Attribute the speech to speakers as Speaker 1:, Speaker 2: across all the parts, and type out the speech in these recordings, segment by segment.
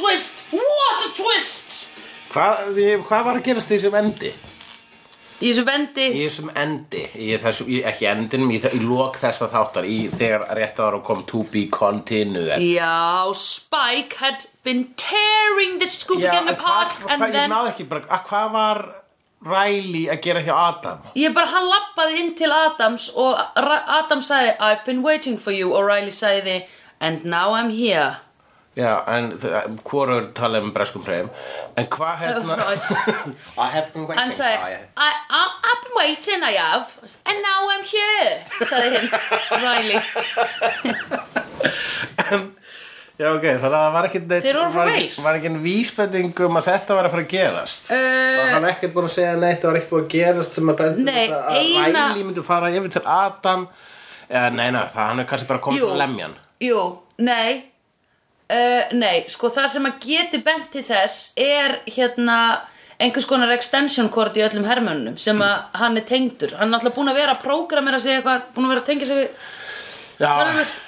Speaker 1: twist! What a twist!
Speaker 2: Hvað, ég- hvað var að gerast í þessum endi?
Speaker 1: Í þessu vendi
Speaker 2: Í þessum endi, í þessu, í, ekki endinum, í, þe- í lok þessa þáttar, í þegar rétt ára kom to be continued.
Speaker 1: Já, Spike had been tearing this Scooby
Speaker 2: Já,
Speaker 1: Gang
Speaker 2: en
Speaker 1: apart
Speaker 2: hvað-
Speaker 1: and
Speaker 2: hvað- Ég
Speaker 1: then
Speaker 2: náði ekki, bara, að hvað var Riley að gera hjá Adam?
Speaker 1: Ég bara, hann lappaði inn til Adams og Ra- Adams sagði I've been waiting for you og Riley sagði And now I'm here
Speaker 2: Já, en hvorur tala um breskum hreim En hvað hérna
Speaker 1: Right.
Speaker 2: I have been
Speaker 1: Oh,
Speaker 2: waiting Ah,
Speaker 1: Hann sagði I, I, I've been waiting, I have And now I'm here sagði hinn, Riley
Speaker 2: Já, ok, þannig að það var ekki neitt,
Speaker 1: Þeir voru frá
Speaker 2: var,
Speaker 1: Wales.
Speaker 2: ekki- var ekki vísbending um að þetta var að fara að gerast
Speaker 1: uh,
Speaker 2: Var hann ekkert búin að segja neitt Það var ekkert búin að gerast sem að bendum
Speaker 1: Nei,
Speaker 2: að
Speaker 1: eina-
Speaker 2: Riley myndi fara yfir til Adam Já, nei, nei, það hann er kannski bara komið
Speaker 1: Jú.
Speaker 2: til að lemja hann
Speaker 1: Jú, nei uh, Nei, sko það sem að geti bent til þess er hérna einhvers konar extension cord í öllum hermönnum sem að hann er tengdur hann er alltaf búin að vera að prógramera sig eitthvað búin að vera að tengja sig við
Speaker 2: Já,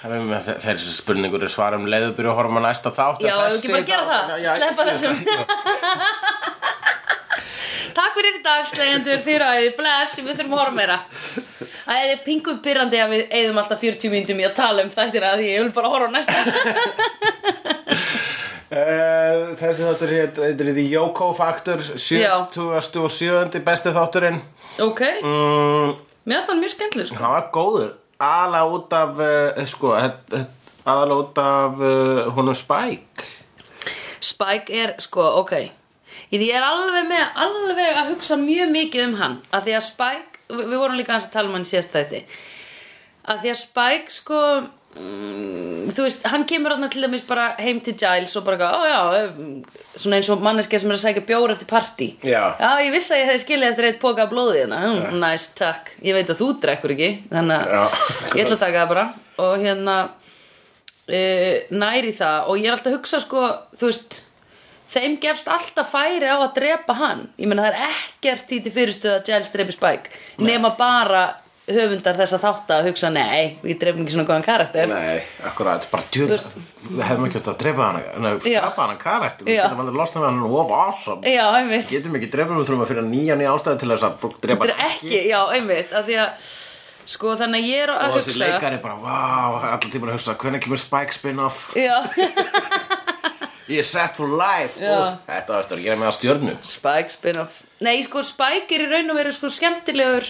Speaker 2: það er með þessi spurningur er svara um leiðubyrju og horfum að næsta þátt en
Speaker 1: Já, ef
Speaker 2: þessi
Speaker 1: ekki bara gera
Speaker 2: þá-
Speaker 1: það,
Speaker 2: Já, já,
Speaker 1: sleppa
Speaker 2: ég-
Speaker 1: þessum Takk fyrir í dag, slegjendur, þýra æði, bless, við þurfum að horfa meira Það er pingu byrrandi að við eigðum alltaf 40 myndum í að tala um þættina því ég vil bara horfa á næsta
Speaker 2: Eh, Þessi þáttur hét- heitir The Yoko Factor 77. besti þátturinn
Speaker 1: Ok,
Speaker 2: mm,
Speaker 1: mér finnst hann mjög skemmtileg sko.
Speaker 2: Hann var góður Ala út af eh, sko, Ala út af uh, honum Spike
Speaker 1: Spike er, sko, ok Ég ég er alveg með, alveg að hugsa mjög mikið um hann að því að Spike, við, við vorum líka hans að tala um hann sérst þetta að því að Spike, sko mm, þú veist, hann kemur hann til dæmis bara heim til Giles og bara, eitthvað, ó já eh, svona eins og manneskja sem er að sækja bjór eftir partí
Speaker 2: Já.
Speaker 1: ég vissi að ég hefði skilið eftir eitt póka af blóði hérna, hm, næst, takk ég veit að þú drekkur ekki, þannig
Speaker 2: Já.
Speaker 1: að ég ætla að taka það bara og hérna uh, næri það og ég er alltaf að hugsa sko, þú veist þeim gefst alltaf færi á að drepa hann ég meina það er ekkert í til fyrirstuð að Giles drepi Spike nema bara höfundar þess að þátt að hugsa nei, við drefum ekki svona góðan karakter
Speaker 2: Nei, akkurat, bara djöð
Speaker 1: veist-
Speaker 2: Við hefum ekki átt að drepa hann Nei,
Speaker 1: Já.
Speaker 2: skapa hann karakter Við
Speaker 1: Já.
Speaker 2: getum aldrei losna með hann og of awesome
Speaker 1: já, einmitt
Speaker 2: Getum ekki drepa hann, við þurfum að finna nýja nýja ástæði til þess að fólk drepa
Speaker 1: Dre
Speaker 2: hann
Speaker 1: ekki, já, einmitt að því að, sko, þannig að ég er
Speaker 2: Og
Speaker 1: að
Speaker 2: þessi
Speaker 1: hugsa
Speaker 2: leikari bara, vá, allir tíma að hugsa Hvernig kemur Spike spin-off?
Speaker 1: já,
Speaker 2: Ég er set for life
Speaker 1: Já.
Speaker 2: Ó, Þetta var eftir að gera með að stjörnu
Speaker 1: Spike spin-off Nei, sko, Spike er í raun og veru sko skemmtilegur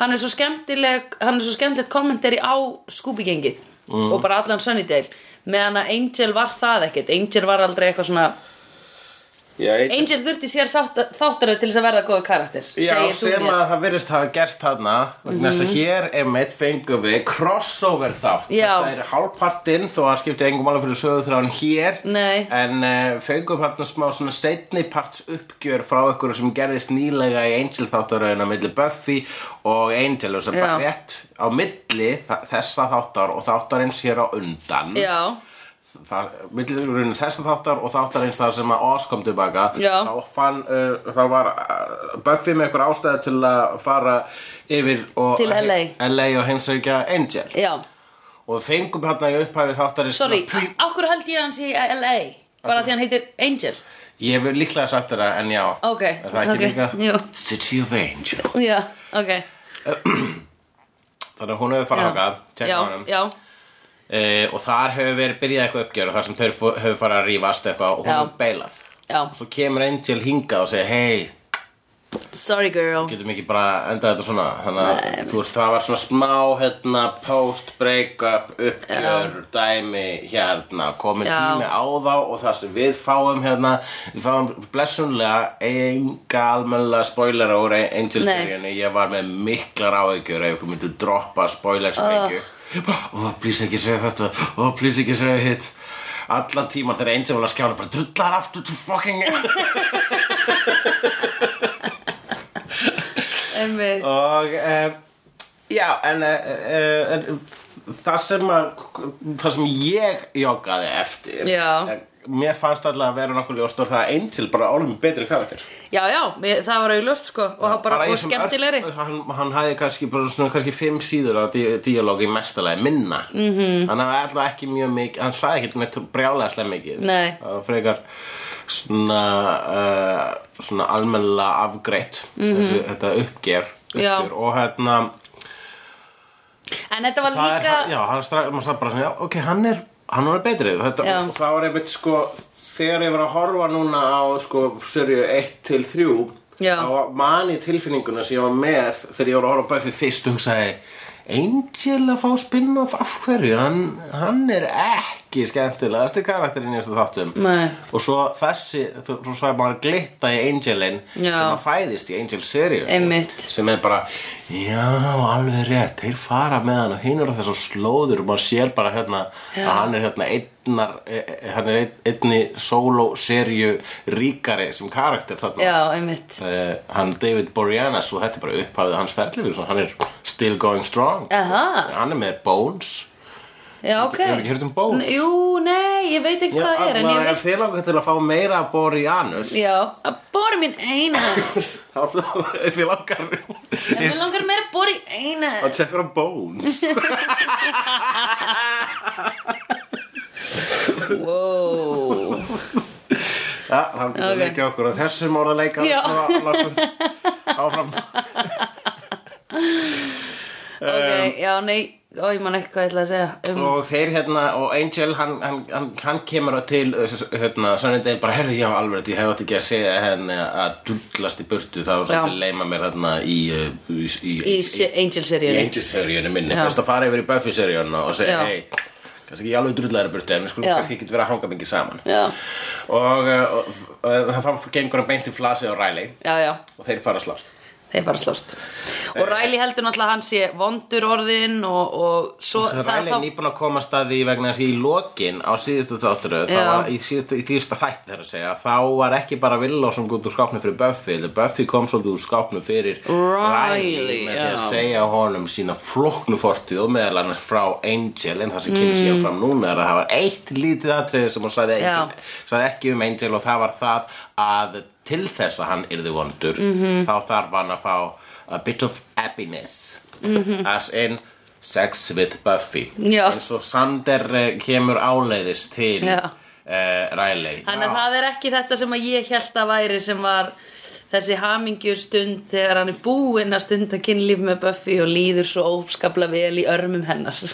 Speaker 1: Hann er svo skemmtileg Hann er svo skemmtilegt kommentari á Scooby-gengið Og bara allan Sunnydale Meðan að Angel var það ekkert Angel var aldrei eitthvað svona
Speaker 2: Já, ein...
Speaker 1: Angel þurfti sér þáttaröð til þess að verða góða karakter
Speaker 2: Já
Speaker 1: segir þú
Speaker 2: sem
Speaker 1: mér. Mhm.
Speaker 2: að það virðist hafa gerst þarna vegna þess að hér er meitt fengum við crossover þátt
Speaker 1: Já.
Speaker 2: Þetta er hálfpartinn þó að skipti engum mála fyrir sögur þráðan hér
Speaker 1: Nei.
Speaker 2: En uh, fengum þarna smá svona setni parts uppgjör frá ykkur sem gerðist nýlega í Angel þáttaröðina milli Buffy og Angel og sem bara
Speaker 1: Já.
Speaker 2: rétt á milli þa- þessa þáttar og þáttarins hér á undan
Speaker 1: Já,
Speaker 2: þar, millir raunin þessa þáttar og þáttar eins þar sem að Oz kom tilbaka
Speaker 1: Já.
Speaker 2: þá fann, uh, þá var uh, Buffy með einhver ástæði til að fara yfir og
Speaker 1: Til LA.
Speaker 2: og heimsækja Angel
Speaker 1: já
Speaker 2: og við fengum hérna í upphæfi þáttarins
Speaker 1: Sorry,
Speaker 2: svona pre-
Speaker 1: akkur held ég hans í LA Bara því hann heitir Angel
Speaker 2: ég hef líklega sagt þetta en já
Speaker 1: Ok,
Speaker 2: er það ekki
Speaker 1: ok, jú.
Speaker 2: líka? City of Angel
Speaker 1: Já, ok
Speaker 2: þannig að hún hefur
Speaker 1: já.
Speaker 2: farað þangað, tjekka á
Speaker 1: já,
Speaker 2: hennum
Speaker 1: já,
Speaker 2: Uh, og þar hefur verið byrjað eitthvað uppgjör og þar sem þau fó- hefur farið að rífast eitthvað og hún
Speaker 1: Já.
Speaker 2: hefur beilað
Speaker 1: já
Speaker 2: og svo kemur Angel hingað og segir hei,
Speaker 1: Sorry girl
Speaker 2: getum ekki bara endað þetta svona þannig að þú veist það var svona smá hérna, post breakup uppgjör dæmi hérna komin
Speaker 1: Já.
Speaker 2: tími á þá og það sem við fáum hérna við fáum blessunlega enga almennilega spoilera úr Angel
Speaker 1: Nei.
Speaker 2: seríunni ég var með miklar áhyggjur ef ykkur myndu droppa spoiler sprengju oh. please ekki segja þetta oh, please ekki segja hitt alla tímar þegar Angel var að skjána bara drullar aftur to fucking
Speaker 1: Einmitt
Speaker 2: og uh, já en eh, uh, uh, það sem að, það sem ég joggaði eftir
Speaker 1: Já.
Speaker 2: eh, mér fannst alltaf að vera nokkuð ljóst og það að Angel bara álum betri karakter
Speaker 1: Já, já, mér, það var auðlust sko og það var bara,
Speaker 2: í
Speaker 1: bara
Speaker 2: þessum
Speaker 1: skemmtilegri
Speaker 2: örf- hann, hann hafði kannski bara svona kannski fimm síður á dí, díalógi mestalagi minna mm
Speaker 1: Mhm.
Speaker 2: -hmm. hann hafði alltaf ekki mjög mikið hann sagði ekki neitt brjálega slega mikið
Speaker 1: Nei.
Speaker 2: það var frekar svona uh, svona almennilega afgreitt þessi, þetta uppgjör,
Speaker 1: Mhm. Já.
Speaker 2: uppgjör. og hérna
Speaker 1: En þetta var
Speaker 2: það
Speaker 1: líka
Speaker 2: er, já, hann strax, maður sagði bara svona, já, ok, hann er, hann er betri þetta,
Speaker 1: Já.
Speaker 2: og það var einmitt sko þegar ég var að horfa núna á sko serju 1 til 3
Speaker 1: Já.
Speaker 2: þá mani tilfinninguna sem ég var með þegar ég var að horfa á Buffy fyrst og hugsaði Angel að fá spin-off af hverju, hann, hann er ekki skemmtilegasti karakterinn í þessu þáttum
Speaker 1: Nei.
Speaker 2: og svo þessi, þú þú sagði bara glitta í Angelin
Speaker 1: Já.
Speaker 2: sem að fæðist í Angel-serju
Speaker 1: Einmitt
Speaker 2: sem er bara já, alveg rétt, þeir fara með hann og hinn er á þess að slóður og maður sér bara hérna að hann er hérna einnar, eh, eh, hann er ein, einni solo-serju ríkari sem karakter þarna
Speaker 1: Já, einmitt
Speaker 2: Eh, hann David Boreanaz og þetta er bara upphafið hans ferli við, svona, hann er still going strong
Speaker 1: Aha.
Speaker 2: hann er með Bones
Speaker 1: Já, ok
Speaker 2: Hefurðu ekki heyrt um Bones?
Speaker 1: N- Jú, nei, ég veit ekki hvað það er en ég
Speaker 2: allavega,
Speaker 1: veit
Speaker 2: ef þið langar til að fá meira af Boreanaz
Speaker 1: Já, að bori mín einhans
Speaker 2: þá ef þið langar
Speaker 1: En mér langar meira að bori einhans
Speaker 2: að tjekka á Bones
Speaker 1: Wow
Speaker 2: Já, það er
Speaker 1: Ok.
Speaker 2: okay. ekki okkur að þessum orðaleika
Speaker 1: Já.
Speaker 2: svo látum áfram
Speaker 1: Ok, já, nei, ó, ég man ekki hvað ég ætla að segja um,
Speaker 2: Um, og þeir hérna og Angel hann, hann, hann, hann kemur á til uh, s- hérna, sannindegi bara herði já alveg ég hef átt ekki að segja henni að dullast í burtu það var svolítið leima mér hérna í uh, í, í,
Speaker 1: Í
Speaker 2: í,
Speaker 1: se-
Speaker 2: í
Speaker 1: Angel-seríunni
Speaker 2: Angel-seríunni minni
Speaker 1: Já.
Speaker 2: best að fara yfir í Buffy-seríunna og segja
Speaker 1: Já.
Speaker 2: hei kannski ekki alveg drullæri burtu en við skulum
Speaker 1: Já.
Speaker 2: kannski ekki vera að hanga mikið saman
Speaker 1: Já,
Speaker 2: og, uh, og, og þá gengur hann beint í Flasi og Riley
Speaker 1: já, já
Speaker 2: og þeir fara að slást
Speaker 1: Þeir fara að slást Og
Speaker 2: Eh.
Speaker 1: Riley heldur náttúrulega að hann sé vondur orðin og, og svo
Speaker 2: Svo
Speaker 1: það-
Speaker 2: Ræli er nýbúin að koma að staði í vegna þess að í lokin á síðustu þáttur
Speaker 1: Já.
Speaker 2: í, síðustu- í þýrsta þætti þar að segja þá var ekki bara Villó sem gótt úr skápnum fyrir Buffy heldur Buffy kom svolítið úr skápnum fyrir
Speaker 1: Riley,
Speaker 2: með því að
Speaker 1: já.
Speaker 2: segja honum sína flóknufortið og meðal annars frá Angel en það sem kynni síðan fram núna er að það var eitt lítið atriði sem hún sagði,
Speaker 1: Mm. Já.
Speaker 2: Angel, sagði ekki um Angel og það var það að til þess að hann yrði vondur
Speaker 1: Mhm.
Speaker 2: -hmm. þá þarf hann að fá a bit of happiness as in sex with Buffy
Speaker 1: Mhm. Já.
Speaker 2: eins og Sander eh, kemur áleiðis til
Speaker 1: Já.
Speaker 2: uh, Riley
Speaker 1: Þannig að það er ekki þetta sem að ég held að væri sem var þessi hamingjur stund þegar hann er búinn að stunda kynlíf með Buffy og líður svo óskapla vel í örmum hennar.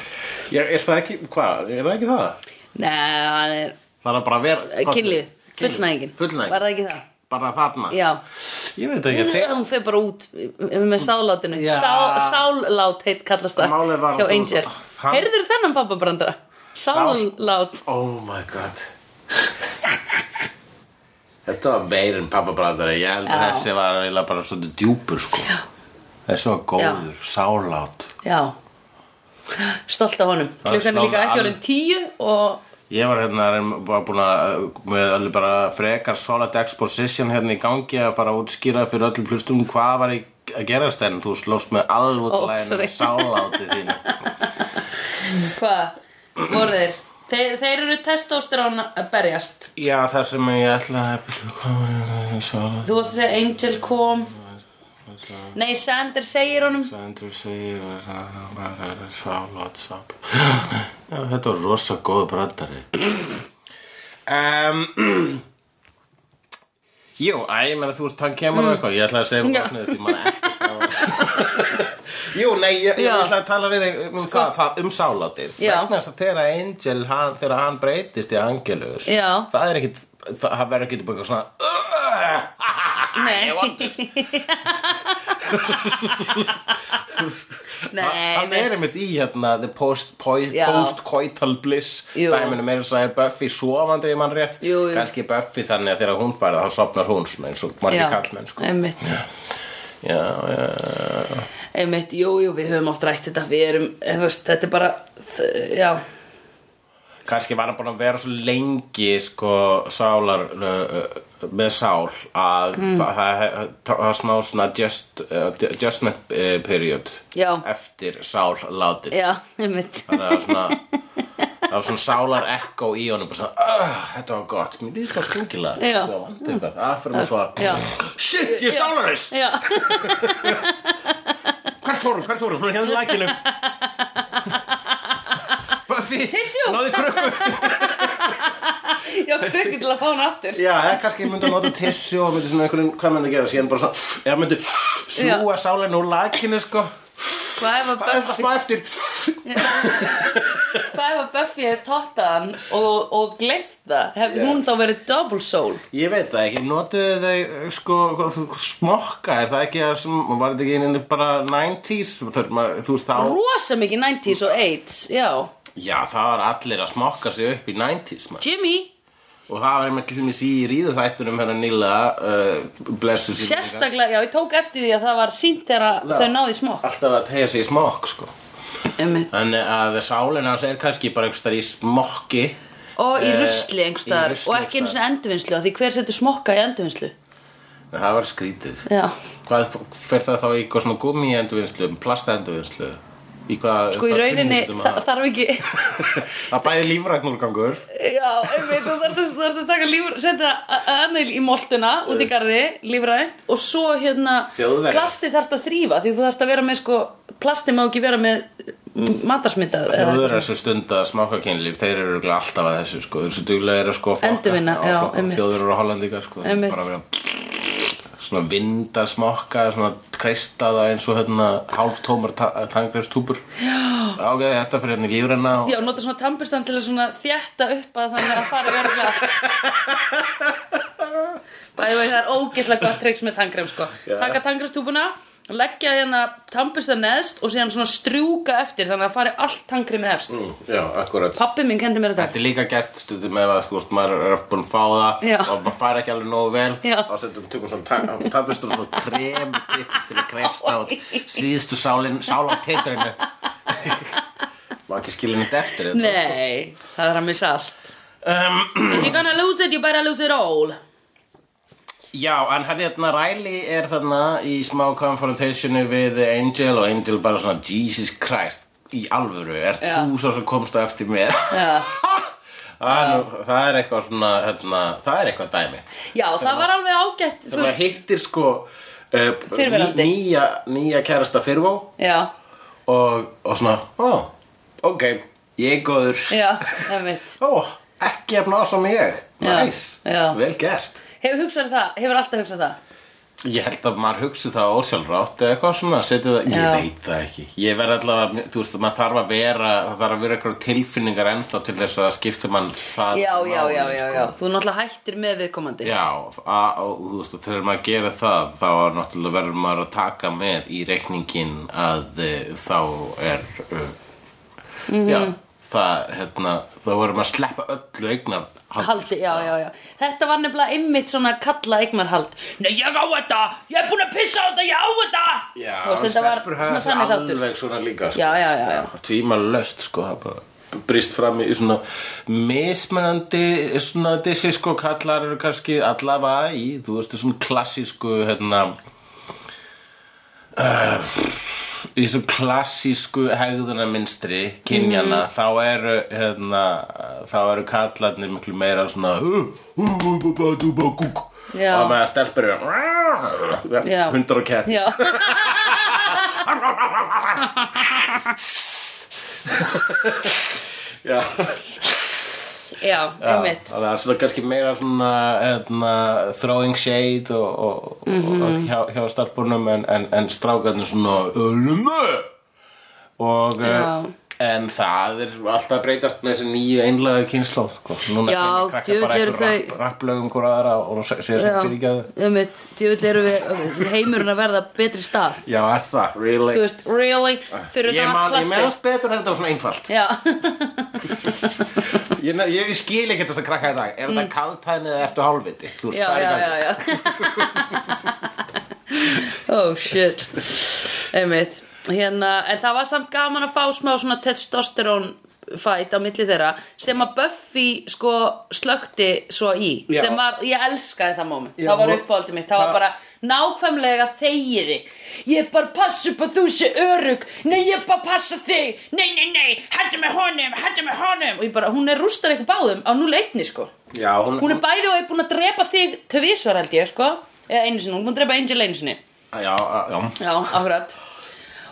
Speaker 2: er, er það ekki, hvað, er það ekki það?
Speaker 1: Nei, hann er
Speaker 2: Það er bara að vera
Speaker 1: kynlíf, fullnægingin.
Speaker 2: Fullnæging.
Speaker 1: Var það ekki það?
Speaker 2: Bara þarna
Speaker 1: Já.
Speaker 2: Ég veit ekki, þeir
Speaker 1: Hún fer bara út með sállátinu.
Speaker 2: Já.
Speaker 1: Sá, sállát heit kallast það
Speaker 2: Málið var-
Speaker 1: hjá Angel.
Speaker 2: Hann-
Speaker 1: Heyrður þennan pappabrandara? Sállát.
Speaker 2: Oh my god Þetta var meir en pappabrandari Ég held að
Speaker 1: Já.
Speaker 2: þessi var eiginlega bara svolítið djúpur sko Já. Þessi var góður, sálát
Speaker 1: Já. Stolt af honum.
Speaker 2: Það er
Speaker 1: Klukkan er líka
Speaker 2: slána
Speaker 1: ekki
Speaker 2: al-
Speaker 1: orðin tíu og
Speaker 2: Ég var hérna reym- bara búin að eh, með alveg bara frekar solid exposition hérna í gangi að bara útskýra fyrir öllum plustum hvað var í, að gerast en þú slóst með alveg
Speaker 1: Ó, sorry.
Speaker 2: læginu sáláti þín
Speaker 1: Hvað? Voru þeir? Þeir, þeir eru testosterón að berjast.
Speaker 2: Já þar sem ég ætla að hvað var ég sáláti
Speaker 1: Þú varst að segja Angel kom. Nei, Sander segir honum.
Speaker 2: Andrew segir sáláti sáp Já þetta var rosa góð brandari um, Jú, æ, ég meina þú veist, hann kemur og eitthvað, ég ætla að segja um
Speaker 1: Mm. Já.
Speaker 2: hvað sniður því maður ekki Jú, nei, ég, ég
Speaker 1: Já. Sko.
Speaker 2: ætla að tala við þig um, það, það, um sálátið
Speaker 1: Já.
Speaker 2: vegna þess að þegar Angel, hann, þegar hann breytist í Angelus
Speaker 1: Já.
Speaker 2: það er ekkit, það hann verður ekkit bara eitthvað svona "Ugh,
Speaker 1: Nei.
Speaker 2: ég er vondur."
Speaker 1: Nei,
Speaker 2: hann
Speaker 1: nei.
Speaker 2: er einmitt í hérna the post, poi-
Speaker 1: Já.
Speaker 2: post-coital bliss
Speaker 1: Jú.
Speaker 2: dæminu meira að segja Buffy sofandi ef mann rétt,
Speaker 1: Jú, jú.
Speaker 2: kannski Buffy þannig að þegar hún færi þá sopnar hún svona eins og margir kallmenn sko.
Speaker 1: einmitt,
Speaker 2: já, já,
Speaker 1: einmitt, jú, jú, við höfum oft rætt þetta, við erum, eh, þú veist, þetta er bara, þ- já,
Speaker 2: kannski var hann búin að vera svo lengi sko sálar uh, uh, með sál að
Speaker 1: Mm.
Speaker 2: það það- það er smá svona just, uh, adjustment uh, period
Speaker 1: Já.
Speaker 2: eftir sál látið
Speaker 1: já, einmitt,
Speaker 2: þannig að svona Það var svona sálar ekko í honum bara svona, "Ugh, þetta var gott, mér líst það stungilega
Speaker 1: Já.
Speaker 2: það vant eitthvað, það fyrir
Speaker 1: Já.
Speaker 2: mig svona shit, ég er sálarlaus,
Speaker 1: Já,
Speaker 2: hvert fórum, hvert fórum hún er hérna í lækinu Buffy,
Speaker 1: Tissue.
Speaker 2: náði krukku
Speaker 1: já, krukki til að fá hana aftur
Speaker 2: Já, eða kannski myndi að nota tissu og myndi svona einhvern, hvað myndi að gera, síðan bara svona eða myndi sjúa sálarinn úr lækinu sko,
Speaker 1: Hvað ef að
Speaker 2: það er það
Speaker 1: Buffy,
Speaker 2: smá eftir
Speaker 1: hvað ef að Buffy hefði tottað hann og, og gleift það Hefði
Speaker 2: Já.
Speaker 1: hún þá verið double soul
Speaker 2: Ég veit það ekki, notuðu þau sko, hvað þú- smokka, er það ekki að sem, var þetta ekki einu bara 90s, þar, maður, þú veist þá
Speaker 1: Rosa mikið 90s og 8s, já
Speaker 2: Já, það var allir að smokka sig upp í 90s maður.
Speaker 1: Jimmy,
Speaker 2: og það var einmitt til mér í ríðu þættunum hérna nýla uh, blessu sín
Speaker 1: sérstaklega, já, ég tók eftir því að það var sínt þegar
Speaker 2: Já.
Speaker 1: þau náði í smokk
Speaker 2: Alltaf að tegja sig í smokk sko
Speaker 1: Einmitt.
Speaker 2: Þannig að sálinn hans er kannski bara einhvers staðar í smokki
Speaker 1: Og í
Speaker 2: Eh,
Speaker 1: rusli
Speaker 2: í
Speaker 1: einhverstaðar
Speaker 2: rusli
Speaker 1: og ekki einu
Speaker 2: einhvers
Speaker 1: sinni endurvinnslu af Því hver setur smokka í endurvinnslu
Speaker 2: En Það var skrítið
Speaker 1: Já,
Speaker 2: Hvað fer það þá í eitthvað svona gummi endurvinnslu, plasta endurvinnslu Í hvað
Speaker 1: sko í
Speaker 2: hvað
Speaker 1: rauninni
Speaker 2: tilvístum
Speaker 1: þa
Speaker 2: að-
Speaker 1: þarf ekki
Speaker 2: Það er bæði lífrætt núrgangur
Speaker 1: Já, einmitt, þú þarfst að, þú þarft að taka lífra Setta annað í moltuna út í garði Lífrænt og svo hérna
Speaker 2: Þjóðverja.
Speaker 1: Plasti þarft að þrýfa því þú þarft að vera með sko Plasti má ekki vera með mm, matarsmitað eða-
Speaker 2: Þjóður þessu stund að smáka kynlíf Þeir eru örugglega alltaf að þessu sko Þessu duglega eru sko að flokka.
Speaker 1: Endurvinna, já,
Speaker 2: flokka.
Speaker 1: einmitt.
Speaker 2: Þjóður eru hollendingar sko
Speaker 1: Einmitt.
Speaker 2: Bara að vera Svona vinda smokka Svona kreistað og eins og hérna Hálftómar ta tangreistúpur Já Ok, þetta fyrir hérna í lífrenna og...
Speaker 1: Já, nota svona tambustan til að svona þjætta upp að þannig að fara örgulega Bæði vegi það er ógeðslega gott treyks með tangrem sko
Speaker 2: Já.
Speaker 1: Taka tangremstúbuna, leggja hérna tambustan neðst og síðan svona strjúka eftir þannig að fari allt tangremið efst
Speaker 2: Mm, já, akkurat
Speaker 1: Pappi minn kendi mér þetta
Speaker 2: Þetta er líka gert stundum ef að sko, veist, maður er búin að fá það
Speaker 1: Já.
Speaker 2: og maður fær ekki alveg nógu vel
Speaker 1: Já.
Speaker 2: og setjum tökum svona tapist og svona krem dipp til að kreista og síðustu sálin, sálan teitrinu Má ekki skilja neitt eftir þetta sko.
Speaker 1: Nei, það er að missa allt
Speaker 2: um,
Speaker 1: If you're gonna lose it, you better lose it all
Speaker 2: Já, en hann hérna Riley er þarna í smá confrontationu við Angel og Angel bara svona Jesus Christ í alvöru, er
Speaker 1: Já.
Speaker 2: þú svo sem komst á eftir mér
Speaker 1: Já.
Speaker 2: Það er nú- það er eitthvað svona, hérna, það er eitthvað dæmi
Speaker 1: Já, það var alveg ágætt þú
Speaker 2: Það maður
Speaker 1: veist,
Speaker 2: hittir sko uh,
Speaker 1: Fyrrverandi.
Speaker 2: nýja, nýja kærasta fyrrvó
Speaker 1: Já,
Speaker 2: og, og svona, ó, ok, ég er góður,
Speaker 1: já, emmitt
Speaker 2: ó, ekki að blása mig ég,
Speaker 1: Já,
Speaker 2: næs,
Speaker 1: já.
Speaker 2: vel gert.
Speaker 1: Hefur hugsað um það, hefur alltaf hugsað það
Speaker 2: Ég held að maður hugsi það ósjálfrátt eða eitthvað svona, setja það, ég
Speaker 1: Já.
Speaker 2: veit það ekki. Ég verð allavega, þú veist, maður þarf að vera, það þarf að vera eitthvað tilfinningar ennþá til þess að skipta um mann það.
Speaker 1: Já, já,
Speaker 2: máli,
Speaker 1: já, já,
Speaker 2: sko.
Speaker 1: já Þú náttúrulega hættir með viðkomandi
Speaker 2: Já, a- og þú veist, og þegar maður gerir það þá er náttúrulega verður maður að taka með í reikningin að uh, þá er uh,
Speaker 1: Mhm.
Speaker 2: já, það hérna, þá verður maður að sleppa öllu eignar
Speaker 1: Haldi, já, já, já. Þetta var nefnilega einmitt svona kalla eignarhald. Nei, ég á þetta, ég er búin að pissa á þetta, ég á þetta.
Speaker 2: Já,
Speaker 1: Þú veist, þetta var
Speaker 2: stelpur hafa
Speaker 1: svona
Speaker 2: sig
Speaker 1: þannig þáttur.
Speaker 2: alveg svona líka sko.
Speaker 1: Já, já, já, já.
Speaker 2: Tvíma löst, sko, það bara brist fram í svona mismunandi svona dissi, sko, kallar eru kannski allavega í, þú veist, svona klassísku, hérna uh, í svona klassísku hegðunarminstri kynjana, þá eru hérna, þá eru kallarnir miklu meira svona
Speaker 1: Já.
Speaker 2: og meðan stelpur eru
Speaker 1: Já.
Speaker 2: hundar og kett
Speaker 1: Já,
Speaker 2: Já,
Speaker 1: já, einmitt.
Speaker 2: það er svona kannski meira svona hérna, throwing shade og, og, og
Speaker 1: Mhm.
Speaker 2: hjá, hjá starfbúrnum en, en, en strákarnir svona ölmu og
Speaker 1: Já.
Speaker 2: eh, en það er alltaf að breytast með þessi nýju einlega kynnslóð sko. núna
Speaker 1: Já,
Speaker 2: sem krakka
Speaker 1: djöfull
Speaker 2: bara
Speaker 1: eru
Speaker 2: einhver
Speaker 1: þau-
Speaker 2: rapp, rapplögum hver aðra og segja sem
Speaker 1: Já,
Speaker 2: fyrirgæðu
Speaker 1: einmitt. Djúvill eru við heimurinn að verða betri stað.
Speaker 2: Já, er það, really
Speaker 1: Þú veist, really, fyrir
Speaker 2: Ég
Speaker 1: utan
Speaker 2: man,
Speaker 1: allt
Speaker 2: ég
Speaker 1: plasti.
Speaker 2: meðast betur þetta var svona einfalt
Speaker 1: Já,
Speaker 2: Ég, ég skil ekki þess að krakka í dag Er þetta kaltæðni eða ertu hálfviti? Þú veist,
Speaker 1: Mm. já,
Speaker 2: það er í
Speaker 1: já,
Speaker 2: gangi.
Speaker 1: já, já. oh, shit. Einmitt. Hérna, en það var samt gaman að fá smá svona testosterón fætt á milli þeirra sem að Buffy sko slökti svo í
Speaker 2: Já.
Speaker 1: sem var, ég elskaði það moment,
Speaker 2: Já,
Speaker 1: það var
Speaker 2: hún-
Speaker 1: uppáhaldið mitt það var
Speaker 2: það-
Speaker 1: bara, nákvæmlega þegiði ég bara passa upp að þú sé örug nei ég bara passa þig nei nei nei, hættu með honum, hættu með honum og ég bara, hún er rústar eitthvað báðum á 0-1 sko
Speaker 2: Já, hún,
Speaker 1: hún er bæði og er búin að drepa þig tvisvar held ég sko eða einu sinni, hún er búin að drepa Angel einu sinni
Speaker 2: Já, já
Speaker 1: já, akkurat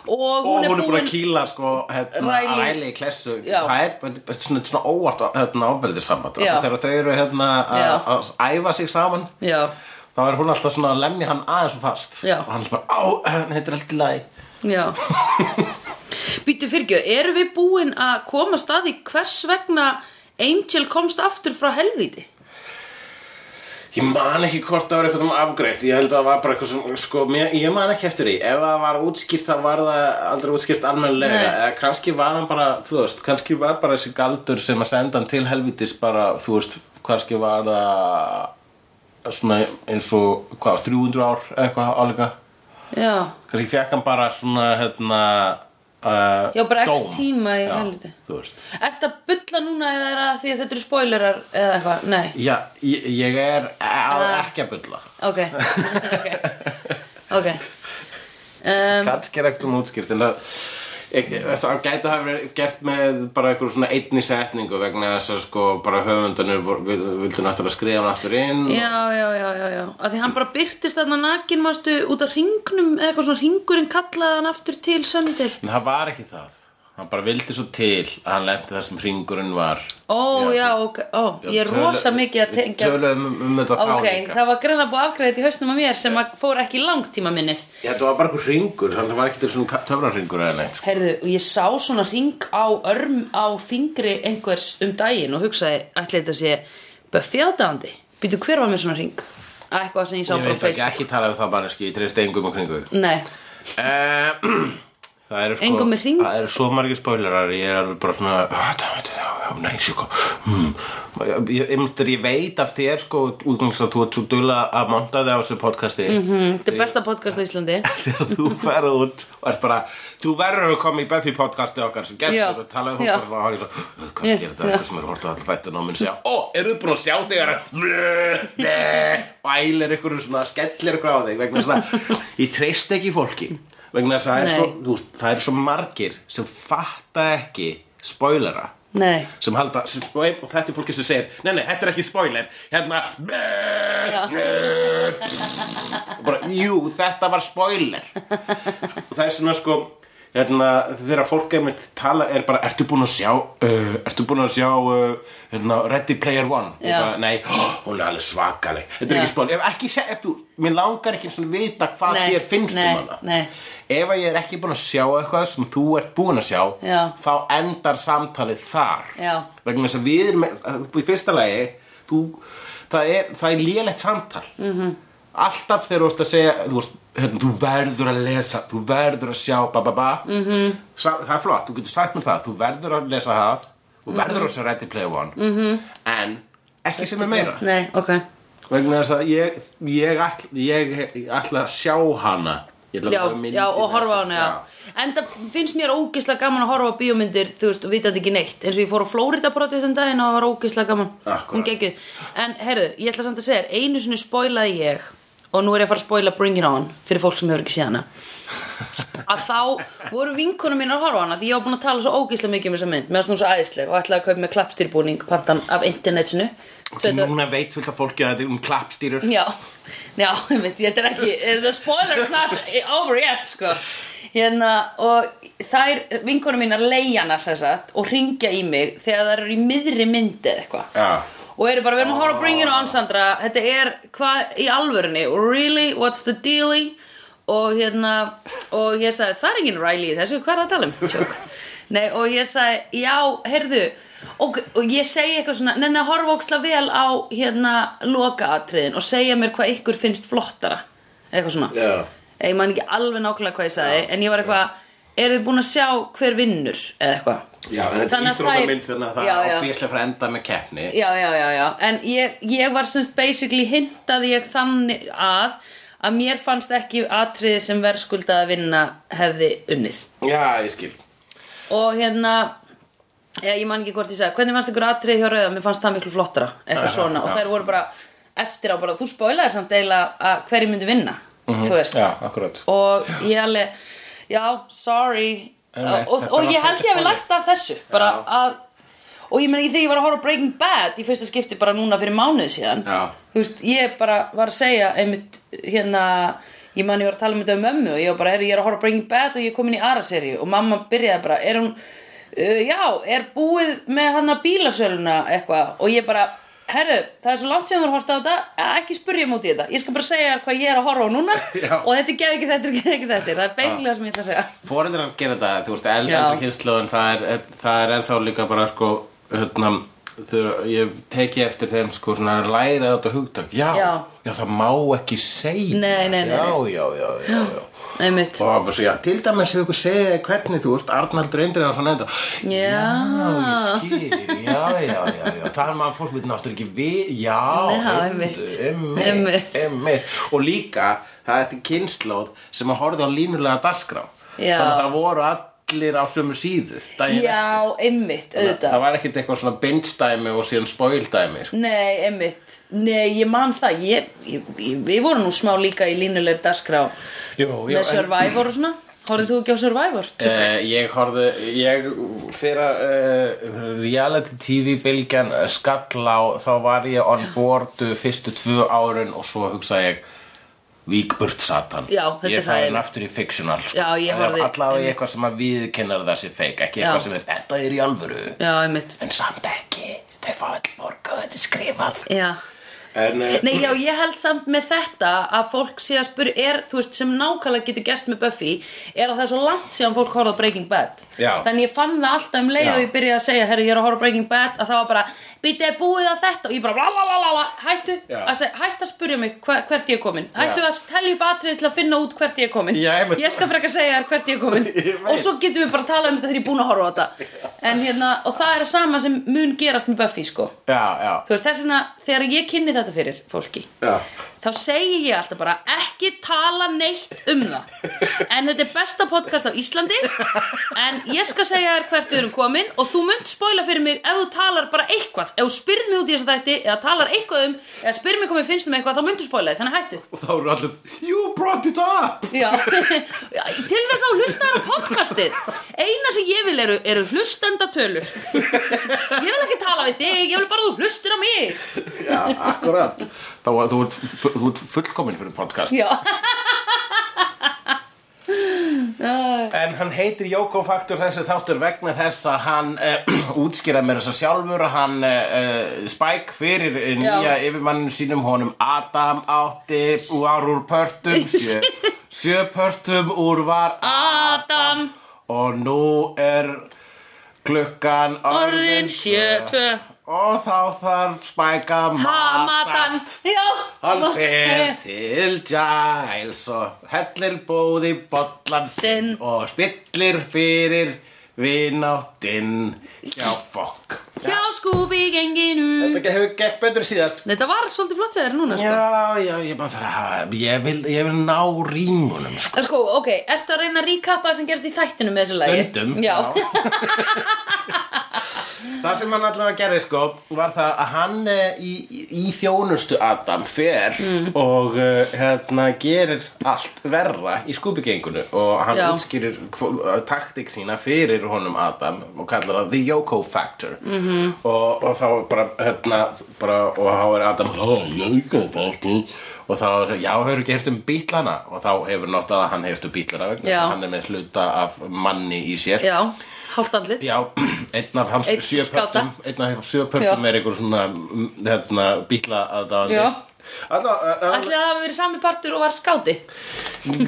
Speaker 1: og
Speaker 2: Og
Speaker 1: hún,
Speaker 2: hún
Speaker 1: er
Speaker 2: er, búin að
Speaker 1: búin
Speaker 2: kýla sko hérna,
Speaker 1: Riley.
Speaker 2: Ræli í klessu
Speaker 1: Já.
Speaker 2: Það er þetta er svona, þetta er svona óvart hérna, ofbeldið samband
Speaker 1: Já.
Speaker 2: Þegar þau eru hérna að
Speaker 1: Já.
Speaker 2: að æfa sig saman
Speaker 1: já,
Speaker 2: Þá er hún alltaf svona að lemja hann aðeins og fast
Speaker 1: Já.
Speaker 2: Og hann er bara, á, hérna, þetta er alltaf læg
Speaker 1: Já Býtu fyrirgjöð, erum við búin að komast að því hvers vegna Angel komst aftur frá helvíti?
Speaker 2: Ég man ekki hvort það var eitthvað um afgreitt Ég held að það var bara eitthvað sem sko, mér, Ég man ekki eftir því Ef það var útskýrt þá var það aldrei útskýrt almennilega
Speaker 1: Nei.
Speaker 2: Eða kannski var hann bara, þú veist Kannski var bara þessi galdur sem að senda hann til helvitis bara, þú veist Kannski var það svona eins og hvað, 300 ár eða eitthvað áleika
Speaker 1: Já,
Speaker 2: Kannski fekk hann bara svona hérna uh,
Speaker 1: já bara
Speaker 2: dóm.
Speaker 1: x tíma í
Speaker 2: Já,
Speaker 1: helvíti
Speaker 2: Þú veist
Speaker 1: Ertu að bulla núna eða er að því að þetta eru spoilerar eða eitthvað? Nei,
Speaker 2: Já, ég, ég er að
Speaker 1: Ah.
Speaker 2: ekki að bulla
Speaker 1: ok Ok, okay. Um,
Speaker 2: kannski er ekkert um útskýrt en það, ek, það gæti að hafa verið gert með bara einhver svona einni setningu vegna þess að sko bara höfundanir vor- vil- vildu náttúrulega skrifa hann aftur inn
Speaker 1: Já, já, já, já, já Að því hann bara byrtist þarna nakin mástu út af ringnum eða eitthvað svona ringurinn kallaði hann aftur til söndil
Speaker 2: en það var ekki það hann bara vildi svo til að hann lendi þar sem hringurinn var
Speaker 1: Ó,
Speaker 2: Já,
Speaker 1: já, ok, ó, ég er
Speaker 2: tölu-
Speaker 1: rosa mikið að
Speaker 2: við
Speaker 1: tengja
Speaker 2: töluðum um, um þetta þá
Speaker 1: Ok,
Speaker 2: líka
Speaker 1: það var greina búið afgreðið í hausnum að mér sem að fór ekki í langtíma minnið.
Speaker 2: Ég, þetta var bara einhver hringur þannig að það var ekki til svona töfrarringur eða neitt sko.
Speaker 1: Herðu, og ég sá svona ring á örm á fingri einhvers um daginn og hugsaði, ætli þetta sé Buffy aðdáðandi. Býtu, hver var mér svona ring? Að Eitthvað sem ég sá
Speaker 2: ég
Speaker 1: bara á
Speaker 2: veit ekki
Speaker 1: Facebook.
Speaker 2: ekki tala um það bara ég treyst engum og kringu
Speaker 1: Nei,
Speaker 2: Eh, Það eru sko
Speaker 1: Engum með hring?
Speaker 2: Það eru svo margir spoilerar Ég er alveg bara svona "Ah, það- það- Já, já, nei, sjúka mm. ég, ég, ég veit af þér sko Útgangst að þú ert svo dulla að monta þig á þessu podcasti
Speaker 1: mm, þetta er besta podcast á Íslandi.
Speaker 2: Þegar þú ferð út Og ert bara Þú verður að koma í Buffy podcasti okkar Sem
Speaker 1: Já.
Speaker 2: gestur og tala um hún
Speaker 1: Já.
Speaker 2: bara svona og hann er svo, "Ugh, Kannski er þetta
Speaker 1: Já.
Speaker 2: eitthvað sem er hort á allir þættin Og mun segja Ó, eru þið búin að sjá þig að- Blö, blö, Og ælir ykkur svona Skellir ykkur á þig Vegna þess að Ég treyst ekki fólki Vegna þess að það er
Speaker 1: Nei.
Speaker 2: svo þú, veist, Það er svo margir Sem fatta ekki Spoilera
Speaker 1: Nei,
Speaker 2: sem halda, sem spoil, og þetta er fólki sem segir nei, nei, þetta er ekki spoiler hérna blö, blö, og bara, jú, þetta var spoiler og það er svona sko hérna, þegar fólk er með tala er bara, ertu búin að sjá uh, ertu búin að sjá uh, hérna, Ready Player One Ég
Speaker 1: Já.
Speaker 2: bara, nei, oh, hún er alveg svakaleg þetta er
Speaker 1: Já.
Speaker 2: ekki spoiler, ef ekki, sé- ef þú mér langar ekki svona vita hvað
Speaker 1: Nei,
Speaker 2: þér finnst
Speaker 1: nei,
Speaker 2: um hana
Speaker 1: nei.
Speaker 2: ef að ég er ekki búin að sjá eitthvað sem þú ert búin að sjá
Speaker 1: Já.
Speaker 2: þá endar samtalið þar
Speaker 1: Já.
Speaker 2: vegna þess að við erum í fyrsta lagi þú, það, er, það er lélegt samtal -hmm.
Speaker 1: Mhm.
Speaker 2: alltaf þegar þú ert að segja þú, veist, hérna, þú verður að lesa þú verður að sjá ba, ba, ba. Mm
Speaker 1: Mhm.
Speaker 2: -hmm. það er flott, þú getur sagt mér það þú verður að lesa það þú
Speaker 1: Mhm.
Speaker 2: verður að sjá Ready Player One mm -hmm. en ekki sem er meira
Speaker 1: nei, ok.
Speaker 2: vegna þess að ég, ég, all, ég, ætla að sjá hana Ég ætla að
Speaker 1: Já,
Speaker 2: fá mynd
Speaker 1: já,
Speaker 2: í
Speaker 1: og horfa á
Speaker 2: þessu.
Speaker 1: hana, já. Enda finnst mér ógislega gaman að horfa á bíómyndir, þú veist, og vita þetta ekki neitt. Eins og ég fór á Florida brotið þessum daginn og það var ógislega gaman.
Speaker 2: Akkúrat.
Speaker 1: Hún geggjuð. En, heyrðu, ég ætla samt að segja þér, einu sinni spoilaði ég, og nú er ég að fara að spoila Bring It On, fyrir fólk sem hefur ekki séð hana. Að þá voru vinkunum mín að horfa á hana, því ég var búin að tala svo ógislega mikið um þessa mynd, meðan snú svo æðisleg, og ætlaði að kaupa með klappstýrbúning pantan af internetinu.
Speaker 2: Og núna veit fullt af fólki að þetta er um klappstýrur
Speaker 1: Já, já, ég veit, þetta er ekki The spoiler's not over yet, sko Hérna, og þær vinkonum mínar leiðana, sem sagt og ringja í mig þegar þær eru í miðri myndi eða eitthvað
Speaker 2: Já.
Speaker 1: og eru bara, við erum að horfa á Bring It
Speaker 2: Ah.
Speaker 1: On, Sandra þetta er, hvað, í alvörunni really, what's the dealy og hérna, og ég sagði það er engin Riley í þessu, hvað er það að tala um Tjók. Nei, og ég sagði, já, heyrðu og, og ég segi eitthvað svona nenni að horfa óksla vel á hérna, lokaatriðin og segja mér hvað ykkur finnst flottara, eitthvað svona
Speaker 2: Já.
Speaker 1: ég man ekki alveg nákvæmlega hvað ég sagði en ég var eitthvað, erum við búin að sjá hver vinnur, eða eitthvað
Speaker 2: Já, en þetta er
Speaker 1: Þannig að það er-
Speaker 2: íþróttamynd þannig að það
Speaker 1: Já, já.
Speaker 2: er áfíslega fyrir að enda með keppni
Speaker 1: já, já, já, já. en ég, ég var semst basically hintaði ég þannig að að mér fannst ekki atriði sem verðskuldað að vinna hefði unnið
Speaker 2: Já, ég skil
Speaker 1: og hérna ég, ég man ekki hvort ég sagði, hvernig fannst ykkur atriði hjá Rauða mér fannst það miklu flottara, eitthvað
Speaker 2: Já,
Speaker 1: svona
Speaker 2: já.
Speaker 1: og þær voru bara eftir á bara, þú spoilaði samt eiginlega að hverju myndi vinna þú veist
Speaker 2: Mhm, Já, akkurat
Speaker 1: og ég alveg já, sorry
Speaker 2: Einmitt,
Speaker 1: og,
Speaker 2: þetta
Speaker 1: og
Speaker 2: var
Speaker 1: ég held ég hafi
Speaker 2: fallegt
Speaker 1: lært af þessu bara
Speaker 2: Já.
Speaker 1: að og ég meni þegar ég var að horfa á Breaking Bad í fyrsta skipti bara núna fyrir mánuð síðan
Speaker 2: Já.
Speaker 1: þú veist, ég bara var að segja einmitt hérna ég man ég var að tala um þetta um mömmu og ég var bara, heyrðu, ég er að horfa á Breaking Bad og ég er komin í aðra seríu og mamma byrjaði bara, er hún uh, já, er búið með hann að bílasöluna eitthvað og ég bara Herðu, það er svo langt sem þú horfst á þetta að ekki spurja múti í þetta, ég skal bara segja þér hvað ég er að horfa á núna
Speaker 2: Já.
Speaker 1: og þetta er geð ekki þetta, þetta er ekki þetta, það er basically það sem ég ætla að segja
Speaker 2: Fóreldrar gera þetta, þú veist,
Speaker 1: Já.
Speaker 2: eldri kynnslóðin það er, það er ennþá líka bara sko, hérna þau, ég teki eftir þeim sko svona læra þetta hugtak, já, já,
Speaker 1: Já.
Speaker 2: það má ekki segja
Speaker 1: Nei, nei, nei,
Speaker 2: já,
Speaker 1: nei.
Speaker 2: já, já, já, já
Speaker 1: Einmitt.
Speaker 2: Og bara svo, já, til dæmis hefur ykkur segið þér hvernig þú ert Arnaldur Indriðar og svona þetta
Speaker 1: Já. Ah.
Speaker 2: Já, ég skil, já, já, já, já Það er maður fólk við náttúrulega ekki við Já,
Speaker 1: Já, einmitt.
Speaker 2: einmitt, einmitt,
Speaker 1: Einmitt.
Speaker 2: einmitt Og líka, það er þetta kynnslóð sem að horfði á línulega dagskrá
Speaker 1: Já.
Speaker 2: Þannig að það voru allir á sömu síðu daginn eftir.
Speaker 1: Já, einmitt, auðvitað
Speaker 2: Það var ekkert eitthvað svona bindstæmi og síðan spoildæmi sko.
Speaker 1: Nei, einmitt, nei, ég man það ég, ég, ég, Við vorum nú smá líka í línulegri dagskrá
Speaker 2: Jú, jú,
Speaker 1: með
Speaker 2: en-
Speaker 1: Survivor og svona Horfðu þú ekki á Survivor?
Speaker 2: Uh, ég horfði, ég, þegar uh, reality tv bylgjan eh, skall á, þá var ég on board eh, fyrstu tvö árun og svo hugsaði ég, vík burt satan.
Speaker 1: Já, þetta
Speaker 2: ég
Speaker 1: er það
Speaker 2: Ég
Speaker 1: ég-
Speaker 2: aftur í fictional. sko.
Speaker 1: Já, ég horfði-
Speaker 2: Allavega ég eitthvað sem að viðkennar það sé fake, ekki
Speaker 1: Já.
Speaker 2: eitthvað sem er, þetta er í alvöru,
Speaker 1: Já, einmitt
Speaker 2: en samt ekki, þau fá all morga og þetta er skrifað.
Speaker 1: Já.
Speaker 2: En, uh,
Speaker 1: Eh, Nei, já, ég held samt með þetta að fólk sé að spyrja, er, þú veist, sem nákvæmlega getur gæst með Buffy, er að það er svo langt síðan fólk horfði á Breaking Bad.
Speaker 2: Já.
Speaker 1: Þannig ég fann það alltaf um leið
Speaker 2: Já.
Speaker 1: og ég byrjaði að segja, herru, ég er að horfa á Breaking Bad, að það var bara, býtið er búið að þetta og ég bara, lalalala, hættu,
Speaker 2: Já.
Speaker 1: að segja, hættu að spyrja mig hver, hvert ég er komin. Hættu
Speaker 2: Já.
Speaker 1: að telja upp atrið til að finna út hvert ég er komin.
Speaker 2: Já, einmitt.
Speaker 1: ég skal frekar segja þér hvert ég er komin.
Speaker 2: Ég veit.
Speaker 1: og svo getum við bara að tala um þetta þegar ég er búin að horfa á þetta. En hérna, og það er sama sem mun gerast með Buffy, sko.
Speaker 2: já, já,
Speaker 1: Þú veist, þess vegna, þegar ég kynni þetta fyrir fólki,
Speaker 2: já.
Speaker 1: þá segi ég alltaf bara ekki tala neitt um það en þetta er besta podcast á Íslandi en ég skal segja þér hvert við erum komin og þú munt spoila fyrir mig ef þú talar bara eitthvað ef þú spyrð mig út í þessu þætti eða talar eitthvað um eða spyrð mig hvað mér finnst um eitthvað þá munt þú spoila því þannig hættu
Speaker 2: Og þá eru allir, you brought it up.
Speaker 1: Já. Já, til þess að þú hlustaðar á podcastið eina sem ég vil eru, eru hlustendatölur ég vil ekki tala við þig ég vil bara að þú hlustir á mig
Speaker 2: Já, akkurat Þá var þú, ert fu- þú ert fullkomin fyrir podcast
Speaker 1: Já.
Speaker 2: En hann heitir Jóko Faktur þessi þáttur vegna þess að hann eh, útskýra mér þess að sjálfur hann eh, spæk fyrir eh,
Speaker 1: Já.
Speaker 2: nýja yfirmannum sínum honum Adam átti var úr pörtum sjö, sjö pörtum úr var
Speaker 1: Adam
Speaker 2: og nú er klukkan
Speaker 1: orðin sjö, tvö
Speaker 2: og þá þarf spæk að
Speaker 1: Hamadan
Speaker 2: matast
Speaker 1: Já
Speaker 2: Hann fer til Giles og hellir bóði bollan sinn
Speaker 1: Sinn.
Speaker 2: og spillir fyrir vináttinn hjá fokk.
Speaker 1: Já skúbi genginu
Speaker 2: Þetta hefur gekk betur síðast.
Speaker 1: Þetta var svolítið flott þegar núna sko.
Speaker 2: Já, já, ég bara þarf að hafa, ég vil, ég vil ná rímunum sko.
Speaker 1: En sko, ok, ertu að reyna að ríkappa það sem gerst í þættinu með þessu lagi?
Speaker 2: Stundum
Speaker 1: Já,
Speaker 2: Það sem hann allavega gerði sko var það að hann eh, í, í- í þjónustu Adam fer
Speaker 1: Mm.
Speaker 2: og uh, hérna gerir allt verra í skúbigengunu og hann
Speaker 1: Já.
Speaker 2: útskýrir hvo- taktik sína fyrir honum Adam og kallar það The Yoko Factor -hmm.
Speaker 1: Mhm.
Speaker 2: og, og þá bara, hérna, bara og þá er Adam "Ha, Yoko Factor og þá er það, já, hefur ekki heyrt um bítlana og þá hefur notað að hann heyrt um bítlana vegna þess
Speaker 1: Já.
Speaker 2: að hann er með hluta af manni í sér
Speaker 1: já, hálft andlit
Speaker 2: Já, einn af hans
Speaker 1: Einn
Speaker 2: sjö
Speaker 1: skáta.
Speaker 2: pörtum Einn af hans sjö pörtum
Speaker 1: Já.
Speaker 2: er einhver svona mm, hérna, bíla aðdáðandi
Speaker 1: Já.
Speaker 2: Alla,
Speaker 1: Ætli að það hafi verið sami partur og var skáti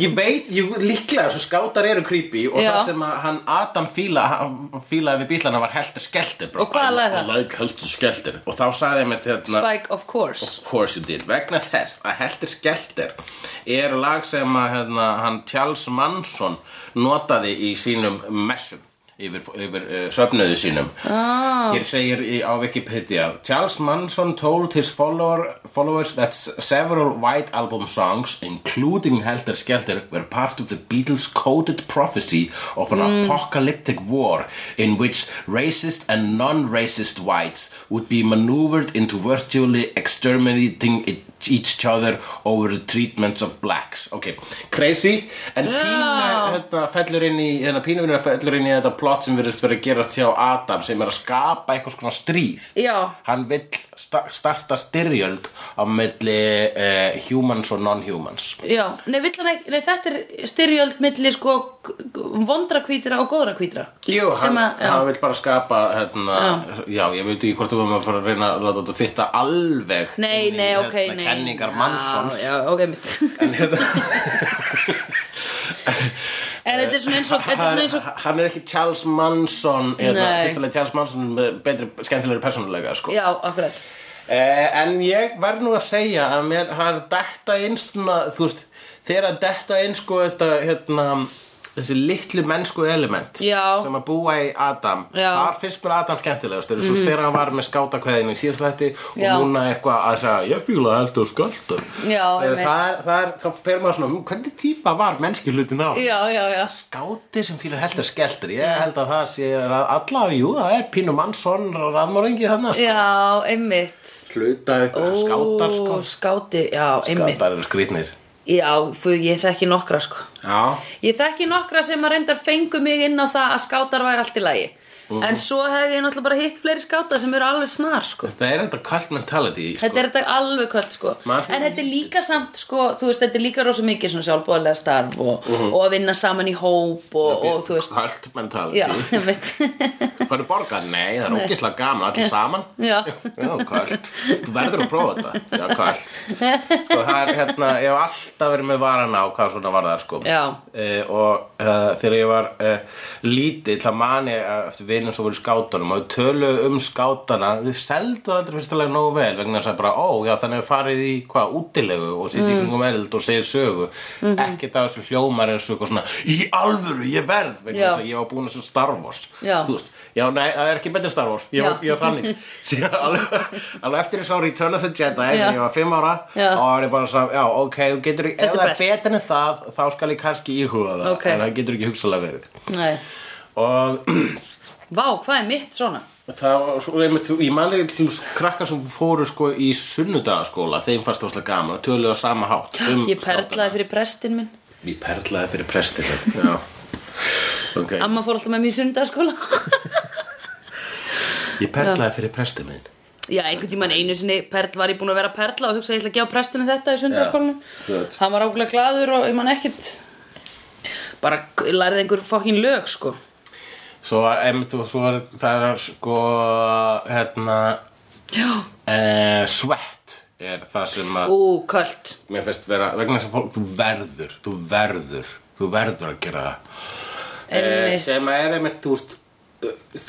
Speaker 2: ég veit, ég, líklega svo skátar eru creepy og
Speaker 1: Já.
Speaker 2: það sem að hann Adam fíla, hann fílaði við bílana var heldur skeltir
Speaker 1: Og hvað lagði það?
Speaker 2: Like heldur skeltir Og þá sagði ég með hérna,
Speaker 1: Spike, of course
Speaker 2: Of course you did Vegna þess að Helter Skelter er lag sem að hérna, hann Charles Manson notaði í sínum messum yfir, yfir uh, söfnöðu sínum ah. Hér segir í, á Wikipedia Charles Manson told his follower, followers that s- several White Album songs including Helter Skelter were part of the Beatles coded prophecy of an apocalyptic war in which racist and non-racist whites would be maneuvered into virtually exterminating each each other over the treatments of blacks ok, crazy en pína, hérna, fellur inn í hérna, pínavinur fellur inn í þetta plot sem verðist verið að gera hjá Adam sem er að skapa eitthvað svona stríð
Speaker 1: Já.
Speaker 2: hann vill sta starta styrjöld á milli uh, humans og non-humans
Speaker 1: Já, nei, vill hann ekki, nei þetta er styrjöld milli sko k- k- vondra hvítra og góðra hvítra
Speaker 2: Jú,
Speaker 1: Sem
Speaker 2: hann,
Speaker 1: að- já.
Speaker 2: hann vil bara skapa hérna, já. ég veit ekki hvort þú varum að fara að reyna að láta þetta fitta alveg
Speaker 1: Nei,
Speaker 2: inn í,
Speaker 1: nei, ok,
Speaker 2: hérna,
Speaker 1: nei
Speaker 2: kenningar
Speaker 1: Já,
Speaker 2: mannsons
Speaker 1: Já, ok, mitt
Speaker 2: en hérna
Speaker 1: En þetta er svona eins og, þetta er
Speaker 2: hann,
Speaker 1: svona eins og
Speaker 2: hann er ekki Charles Manson hérna,
Speaker 1: Nei.
Speaker 2: fyrstulega Charles Manson er með betri, skemmtilegri persónulega sko.
Speaker 1: Já, akkurat
Speaker 2: eh, en ég verð nú að segja að mér hann detta inn svona, þú veist þegar að detta inn sko þetta, hérna, þessi litlu mennsku element
Speaker 1: Já.
Speaker 2: sem að búa í Adam
Speaker 1: Já. Mhm.
Speaker 2: þar finnst mér Adam skemmtilegast þegar mm. þegar hann var með skátakveðinu í síðast þætti og
Speaker 1: Já.
Speaker 2: núna eitthvað að segja ég fíla heldur sköldur
Speaker 1: Já, einmitt.
Speaker 2: Eh, það, það er, þá fer maður svona "Mmm, hvernig típa var mennski hlutin á
Speaker 1: Já, já, já
Speaker 2: Gáti sem fýlar heldur skelltur Ég held að það sé að alla Jú, það er Pínu Mannsson Raðmóringi þannig
Speaker 1: Já, einmitt
Speaker 2: Hluta
Speaker 1: Ó,
Speaker 2: ykkur skátar sko
Speaker 1: Skáti, já, einmitt
Speaker 2: Skátar eru skrýtnir
Speaker 1: Já, fyrir ég þekki nokkra sko
Speaker 2: Já
Speaker 1: Ég þekki nokkra sem að reyndar fengu mig inn á það að skátar væri allt í lagi En svo hef ég náttúrulega bara hitt fleiri skáta sem eru alveg snar sko
Speaker 2: Það er þetta cult mentality sko.
Speaker 1: Þetta er þetta alveg kvöld sko
Speaker 2: Maður-
Speaker 1: En þetta er líka samt sko Þú veist, þetta er líka rosa mikið svona sjálfbóðlega starf og, og að vinna saman í hóp og, og þú veist
Speaker 2: Cult mentality
Speaker 1: Já, einmitt
Speaker 2: Færðu borgað? Nei, það er ógislega gaman Allir saman
Speaker 1: Já.
Speaker 2: Já, kvöld Þú verður að prófa þetta Já, kvöld Og það er hérna Ég hef alltaf verið með varan á Hvað svona var það sko
Speaker 1: Já.
Speaker 2: Eh, og uh, þegar ég var uh, lítið til að mani e, eftir vinum sem voru í skátunum og þau töluðu um skátana þau seldu aldrei fyrstulega nógu vel vegna þess að bara, ó, já, þannig að farið í hvað, útilegu og sitja
Speaker 1: Mm.
Speaker 2: í kringum eld og segja sögu
Speaker 1: Mhm.
Speaker 2: ekkert af þessu hljómar eins og eitthvað svona, í alvöru, ég verð vegna
Speaker 1: Já.
Speaker 2: þess að ég var búin að þessu Star Wars
Speaker 1: Já.
Speaker 2: þú veist, já, nei, það er ekki betur Star Wars ég var,
Speaker 1: Já.
Speaker 2: ég var þannig Síðan alveg, alveg eftir ég sá Return of the Jedi
Speaker 1: Já.
Speaker 2: þegar ég var fimm ára
Speaker 1: Já.
Speaker 2: og var ég bara sá, já, ok, þú getur
Speaker 1: Þetta
Speaker 2: ef
Speaker 1: er
Speaker 2: það er
Speaker 1: best.
Speaker 2: betur en það, þá skal ég kannski íhuga það
Speaker 1: Ok.
Speaker 2: en það getur ekki hugsalega verið
Speaker 1: Nei.
Speaker 2: og
Speaker 1: Vá, hvað er mitt svona?
Speaker 2: það var svo einmitt, ég mani til krakkar sem fóru sko í sunnudagaskóla þeim fannst það áslega gaman og töluðu á sama hátt um
Speaker 1: Ég perlaði fyrir prestin minn
Speaker 2: fyrir ég perlaði fyrir prestið já, ok
Speaker 1: Amma fór alltaf með mér í sundarskóla
Speaker 2: ég perlaði fyrir prestið minn
Speaker 1: Já, einhvern tímann einu sinni perl var ég búin að vera að perla og hugsa að ég ætla að gefa prestinu þetta í sundarskólanum
Speaker 2: Já, gott.
Speaker 1: Hann var ákveðlega gladur og ég man ekkert Bara k- lærði einhver fokkin lög sko
Speaker 2: svo var, einmitt, og svo var það er sko hérna
Speaker 1: Já
Speaker 2: eh, svett er það sem að
Speaker 1: Ú, kvöld
Speaker 2: mér finnst vera, vegna þess að fólk, þú verður, þú verður, þú verður að gera það Eh,
Speaker 1: Einmitt.
Speaker 2: sem er einmitt, þú veist,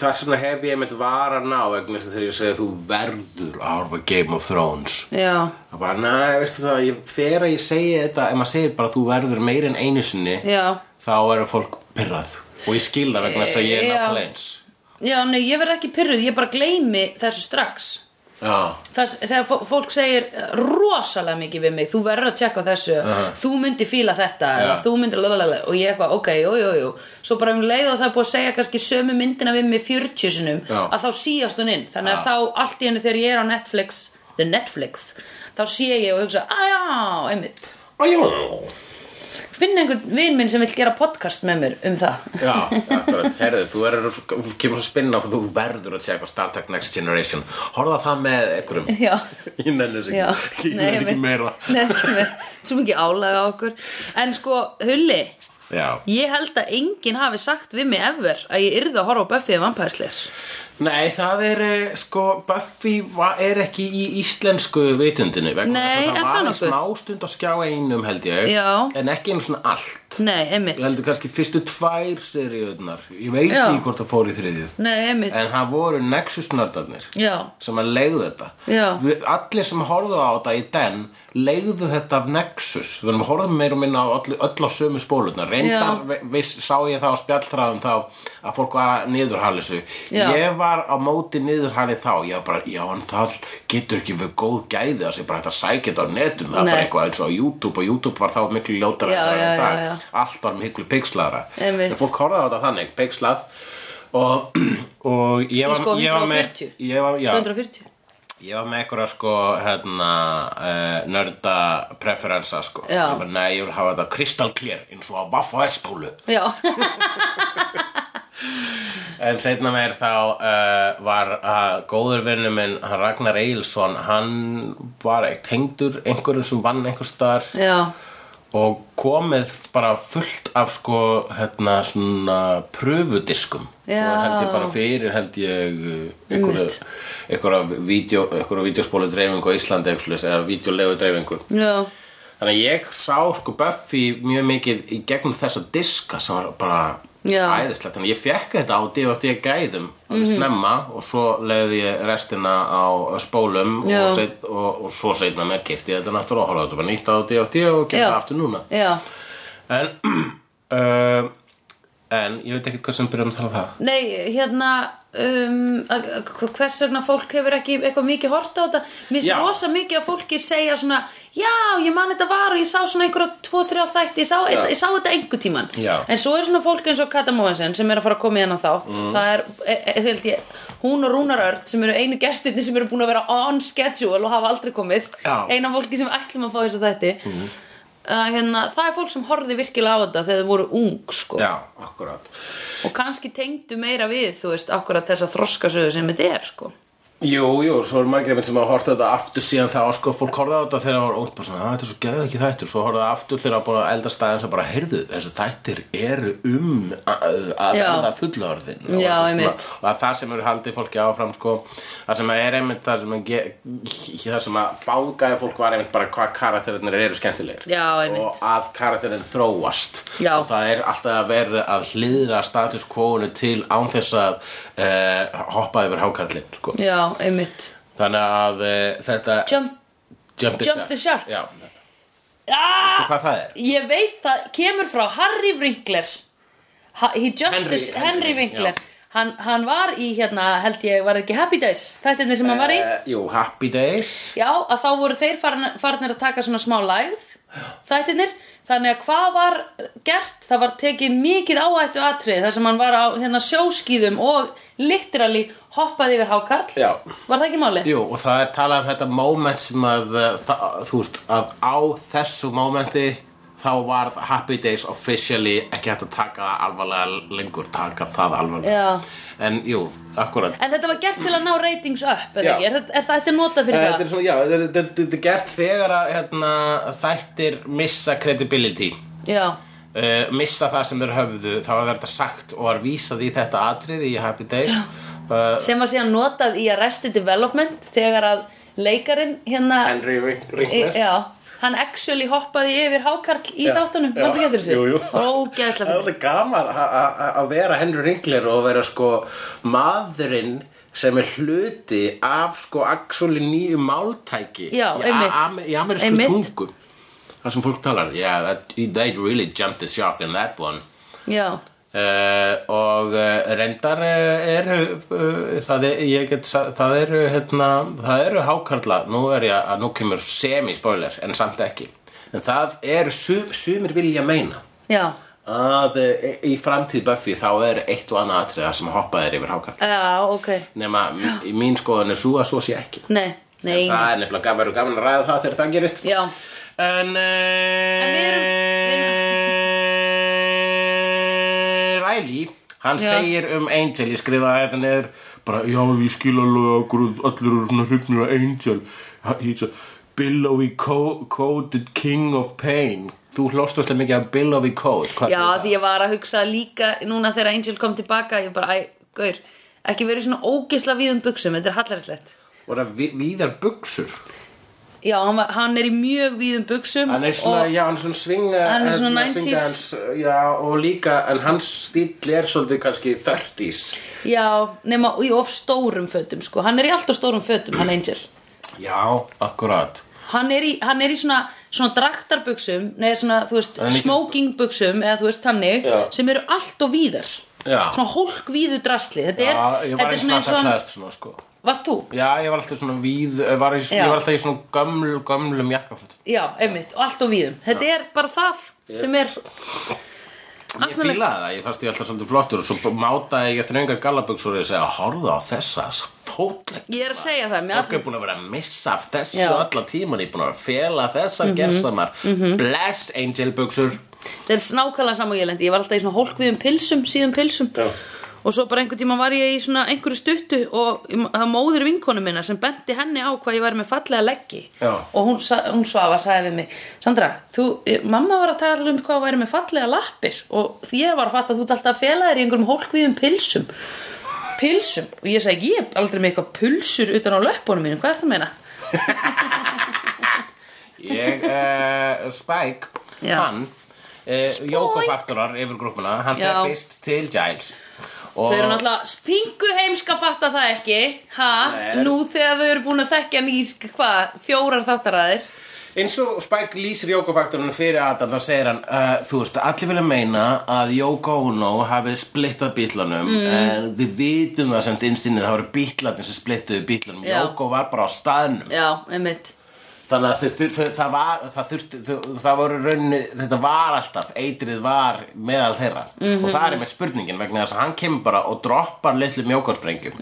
Speaker 2: það sem hef ég einmitt varan á vegna þess að þegar ég segi þú verður að horfa Game of Thrones.
Speaker 1: Já,
Speaker 2: Það bara, næ, veistu það, ég, þegar ég segi þetta, ef maður segir bara þú verður meir en einu sinni,
Speaker 1: já
Speaker 2: þá eru fólk pyrrað og ég skil það vegna þess að ég er
Speaker 1: Já.
Speaker 2: nákvæmlega eins.
Speaker 1: Já, nei, ég verð ekki pyrruð, ég bara gleymi þessu strax
Speaker 2: Já.
Speaker 1: Þess, Þegar fó- fólk segir rosalega mikið við mig Þú verður að tjekka á þessu Þú myndir fíla þetta eða
Speaker 2: Já.
Speaker 1: Þú myndir lalalala Og ég eitthvað, ok, jú, jú, jú Svo bara um leið og það er búið að segja kannski sömu myndina við mig 40 sinum
Speaker 2: Já.
Speaker 1: Að þá síast hún inn Þannig að þá allt í henni þegar ég er á Netflix The Netflix Þá sé ég og hugsa, að já, einmitt
Speaker 2: Æjó.
Speaker 1: Finn einhvern vin minn sem vill gera podcast með mér um það
Speaker 2: Já, akkurat, herðu, þú verður, þú kemur svo spinna og þú verður að tjekka Star Trek Next Generation. Horða það með einhverjum.
Speaker 1: Já
Speaker 2: Ég nenni þess
Speaker 1: Já,
Speaker 2: ekki, ég
Speaker 1: nei,
Speaker 2: nenni ekki
Speaker 1: einmitt.
Speaker 2: meira
Speaker 1: Nei, ekki meira. Svo mikið álaga á okkur En sko, Hulli
Speaker 2: Já
Speaker 1: Ég held að enginn hafi sagt við mig ever að ég yrði að horfa á Buffy vampærsleir
Speaker 2: Nei, það er eh, sko, Buffy va- er ekki í íslensku vitundinu vegna
Speaker 1: Nei, er
Speaker 2: þess að það
Speaker 1: það
Speaker 2: var í
Speaker 1: nokkuð?
Speaker 2: smástund á skjá einum held ég
Speaker 1: Já.
Speaker 2: En ekki einu svona allt
Speaker 1: Nei, einmitt
Speaker 2: Ég heldur kannski fyrstu tvær seríunar Ég veit
Speaker 1: Já.
Speaker 2: ekki hvort það fór í þriðju
Speaker 1: Nei, einmitt
Speaker 2: En það voru Nexus-nördarnir
Speaker 1: Já,
Speaker 2: sem að leiðu þetta
Speaker 1: Já.
Speaker 2: Við- allir sem horfðu á þetta í den leiðu þetta af Nexus við erum að horfa meir og minna á öll, öll á sömu spólurnar reyndar vi- viss, sá ég það á spjalltræðum þá að fólk var að niðurhali þessu
Speaker 1: Já.
Speaker 2: ég var á móti niðurhali þá ég var bara, já en það getur ekki við góð gæði það sé bara hægt að sækja þetta á netum það er bara
Speaker 1: Nei.
Speaker 2: eitthvað eins og á YouTube og YouTube var þá miklu ljótara
Speaker 1: Já,
Speaker 2: en það er
Speaker 1: já,
Speaker 2: í dag.
Speaker 1: já, já.
Speaker 2: allt var miklu pixlara
Speaker 1: Einmitt.
Speaker 2: En fólk horfði á þetta þannig, pixlað og, og ég
Speaker 1: Í
Speaker 2: var,
Speaker 1: sko
Speaker 2: ég var
Speaker 1: 140.
Speaker 2: með ég var, já,
Speaker 1: 240
Speaker 2: Ég var með einhverja sko hérna, uh, nörda preferensa sko
Speaker 1: Já.
Speaker 2: Ég bara, Nei, ég vil hafa þetta kristalklér eins og á Vaff og S-púlu
Speaker 1: Já,
Speaker 2: En seinna meir þá uh, var uh, góður vinnu minn hann Ragnar Eilsson hann var tengdur einhverjum sem vann einhvers staðar
Speaker 1: já,
Speaker 2: og komið bara fullt af sko hérna svona pröfudiskum
Speaker 1: Já.
Speaker 2: Svo held ég bara fyrir held ég uh, einhverju einhverja vídeo, einhverja vídeospólu dreifingu á Íslandi einhverju svoleiðis, eða vídeolegu dreifingu
Speaker 1: já,
Speaker 2: Þannig að ég sá sko Buffy mjög mikið í gegnum þessa diska sem var bara
Speaker 1: Já. Mhm.
Speaker 2: æðislegt Þannig að ég fekk þetta á DVD gæðum mm -hmm. snemma og svo leiði ég restina á spólum og,
Speaker 1: Já.
Speaker 2: seit, og, og svo seinna með kipti ég þetta náttúrulega og horfði á þetta var nýtt á DVD og gerði
Speaker 1: Já.
Speaker 2: það aftur núna
Speaker 1: já
Speaker 2: En, uh, en ég veit ekkert hvað sem byrjum að tala um það
Speaker 1: Nei, hérna um, að- að- hvers vegna fólk hefur ekki eitthvað mikið hort á þetta Mér
Speaker 2: Já.
Speaker 1: finnst rosa mikið að fólki segja svona Já, ég man þetta var og ég sá svona einhverja tvo, þrjá þætti, ég sá, ég, ég sá þetta einhver tíman
Speaker 2: Já.
Speaker 1: En svo er svona fólk eins og Kata Móhensen sem er að fara að koma í hennan þátt
Speaker 2: Mm.
Speaker 1: Það er, e, e, held ég, hún og Rúnar Örd sem eru einu gestirni sem eru búin að vera on schedule og hafa aldrei komið
Speaker 2: Já. Mm.
Speaker 1: Eina fólki sem ætlum að fá þess að þetta hérna, Það er fólk sem horfði virkilega á þetta þegar þau voru ung sko
Speaker 2: Já, akkurat
Speaker 1: og kannski tengdu meira við þú veist, akkurat þessa þroskasöðu sem þetta er sko.
Speaker 2: Jú, jú, svo er margir minn sem hafa horft á þetta aftur síðan þá, sko, fólk horfði á þetta þegar það var ótt bara svona, að þetta er svo geðu ekki þættur svo horfði það aftur þegar það var búin að elda staðin sem bara, heyrðu, þessi þættir eru um að að
Speaker 1: Já.
Speaker 2: verða fullorðin og,
Speaker 1: Já,
Speaker 2: eitthvað
Speaker 1: einmitt.
Speaker 2: svona. og það er það sem eru haldið fólki áfram, sko það sem er einmitt það sem, ge, það sem að fangaði fólk var einmitt bara hvað karakterinir eru skemmtilegir
Speaker 1: Já, einmitt.
Speaker 2: og að karakterin þróast
Speaker 1: Já.
Speaker 2: og það er alltaf að vera að hlýðra status quo-unu til án þess að uh, hoppa yfir hákarlinn, sko
Speaker 1: Já, einmitt
Speaker 2: Þannig að uh, þetta
Speaker 1: Jump,
Speaker 2: jump,
Speaker 1: Jump the Shark.
Speaker 2: Já,
Speaker 1: ah,
Speaker 2: og hvað það er?
Speaker 1: ég veit það kemur frá Harry Winkler ha, he jumped
Speaker 2: Henry-
Speaker 1: Henry, Henry,
Speaker 2: Henry,
Speaker 1: Winkler
Speaker 2: já.
Speaker 1: hann, hann var í hérna, held ég, var það ekki Happy Days þættinni sem hann var í
Speaker 2: Eh, jú, Happy Days
Speaker 1: Já, að þá voru þeir farnir, farnir að taka svona smá lægð þættinir, þannig að hvað var gert, það var tekið mikið áættu atrið þar sem hann var á hérna sjóskýðum og literally hoppaði yfir hákarl
Speaker 2: Já.
Speaker 1: Var það ekki málið?
Speaker 2: Jú, og það er talað um þetta moment sem að, eh, það- þú veist, að á þessu momenti þá varð Happy Days officially ekki hægt að taka það alvarlega lengur, taka það alvarlega.
Speaker 1: Já.
Speaker 2: En jú, akkurat.
Speaker 1: En þetta var gert til að ná ratings upp, er,
Speaker 2: Já.
Speaker 1: ekki? er, þetta- er það þetta notað fyrir
Speaker 2: Eh, Þetta er
Speaker 1: það?
Speaker 2: svona, já, þetta er- þetta er- þetta er gert þegar að hérna, þættir missa credibility.
Speaker 1: Já,
Speaker 2: uh, missa það sem þeir höfðu þá var þetta sagt og var vísað í þetta atriði í Happy Days uh,
Speaker 1: sem var síðan notað í Arrested Development þegar að leikarin hérna
Speaker 2: Henry
Speaker 1: Í-
Speaker 2: Ringner
Speaker 1: Já, hann actually hoppaði yfir hákarl í
Speaker 2: Já,
Speaker 1: þáttunum,
Speaker 2: já.
Speaker 1: varstu getur þessu?
Speaker 2: Jú, jú.
Speaker 1: Ógeðslega
Speaker 2: Það er
Speaker 1: fyrir
Speaker 2: alltaf gaman að- að að vera Henry Ringler og vera sko maðurinn sem er hluti af sko actually nýju máltæki
Speaker 1: Já,
Speaker 2: í,
Speaker 1: einmitt.
Speaker 2: a- am- í amerísku
Speaker 1: Einmitt.
Speaker 2: tungu Það sem fólk talar Yeah, that, they really jumped the shark in that one
Speaker 1: Já,
Speaker 2: Uh, og uh, reyndar uh, eru uh, það, er, ég get, sa- það eru hérna, það eru hákarla nú er ég að nú kemur semi-spoiler en samt ekki en það eru sum, sumir vilja meina
Speaker 1: já
Speaker 2: að uh, í framtíð Buffy þá er eitt og annað atriða sem hoppað er yfir hákarla
Speaker 1: Já, ok
Speaker 2: nema m- í mín skoðan er svo að svo sé ekki
Speaker 1: Nei, nei
Speaker 2: það er nefnilega gaman, verður gaman að ræða það þegar það gerist
Speaker 1: Já,
Speaker 2: En, eh,
Speaker 1: En við erum- við
Speaker 2: Riley, hann
Speaker 1: Já.
Speaker 2: segir um Angel, ég skrifaði þetta niður bara, já, ég skil alveg að hverju allir eru svona hrifnir af Angel Ha- he's a billowy co coded king of pain þú hlóst alltaf mikið að billowy code hvað
Speaker 1: já
Speaker 2: þýðir
Speaker 1: því ég var að hugsa líka núna þegar Angel kom tilbaka ég bara, æ, gaur, ekki verið svona ógeðsla víðum buksum, þetta er hallærislegt
Speaker 2: það? og það vi- víðar buksur
Speaker 1: Já, hann, var, hann er í mjög víðum buksum
Speaker 2: hann er svona,
Speaker 1: og,
Speaker 2: já, hann er svona svinga
Speaker 1: Hann er svona
Speaker 2: hérna,
Speaker 1: 90s.
Speaker 2: svinga hans, já, og líka, en hans stíll er svolítið kannski 30s
Speaker 1: já, nema í of stórum fötum sko. hann er í alltaf stórum fötum, hann Angel
Speaker 2: já, akkurat
Speaker 1: Hann er í, hann er í svona, svona draktarbuksum Nei, svona, þú veist,
Speaker 2: er ekki-
Speaker 1: smokingbuksum Eða þú veist, þannig
Speaker 2: Já.
Speaker 1: Sem eru allt og víðar
Speaker 2: Já.
Speaker 1: Svona hólkvíðu drasli Þetta er,
Speaker 2: Já, ég
Speaker 1: þetta er
Speaker 2: var eins og
Speaker 1: svona eins og
Speaker 2: alltaf
Speaker 1: hann
Speaker 2: klæðast svona sko
Speaker 1: Varst þú?
Speaker 2: Já, ég var alltaf svona víð eh, var í,
Speaker 1: Já.
Speaker 2: Ég var alltaf í svona gömlu, gömlum jakkaföt
Speaker 1: Já, einmitt, og allt og víðum Þetta er bara það sem er
Speaker 2: Ég
Speaker 1: Asnalegt.
Speaker 2: fílaði það, ég fannst ég alltaf svolítið flottur og svo mátaði ég þröngar gallabuxur og ég segja, horfðu á þessa fótlegg
Speaker 1: Ég er að segja það, mér
Speaker 2: Fólk er búin að vera að missa af þessu
Speaker 1: Já. Mhm.
Speaker 2: alla tíman Ég er búin að vera að fela þessar gersamar Bless angel buksur
Speaker 1: Það er snákala saman og ég lendi Ég var alltaf í svona hólkviðum pilsum, síðum pilsum
Speaker 2: Já.
Speaker 1: Og svo bara einhvern tíma var ég í svona einhverju stuttu Og það var móðir vinkonu minna sem benti henni á hvað ég var með fallega leggji
Speaker 2: Já.
Speaker 1: Og hún, sa- hún svafa sagði við mig Sandra, þú, eh, mamma var að tala um hvað væri með fallega lappir Og því ég var að fatta að þú ert alltaf að fela þér í einhverjum hólkviðum pilsum Pilsum Og ég sagði, ég er aldrei með eitthvað pulsur utan á löppunum mínum Hvað er það að meina?
Speaker 2: Ég, uh, Spike,
Speaker 1: Já.
Speaker 2: hann, uh, Jókofaktorar yfir grúppuna, hann
Speaker 1: Já.
Speaker 2: fer fyrst til Giles. Og
Speaker 1: Þau eru náttúrulega pingu heimska fatta það ekki ha?
Speaker 2: Nei.
Speaker 1: Nú þegar þau eru búin að þekkja hann í hvað, fjórar þáttaræðir
Speaker 2: eins og Spike lýsir Jókofaktorinu fyrir Adam, þá segir hann, uh, þú veist, allir vilja meina að Jóko Ono hafi splittað bítlunum,
Speaker 1: Mm.
Speaker 2: en við vitum það samt innstinnið, það voru bítlarnir sem splittuðu bítlunum,
Speaker 1: Já.
Speaker 2: Jóko var bara á staðnum.
Speaker 1: Já, einmitt
Speaker 2: Þannig að þau, þau, þau, það var, það þurfti, þau, það voru raunni, þetta var alltaf, eitrið var meðal þeirra og það er með spurningin vegna þess að hann kemur bara og droppar litlu mjókarsprengjum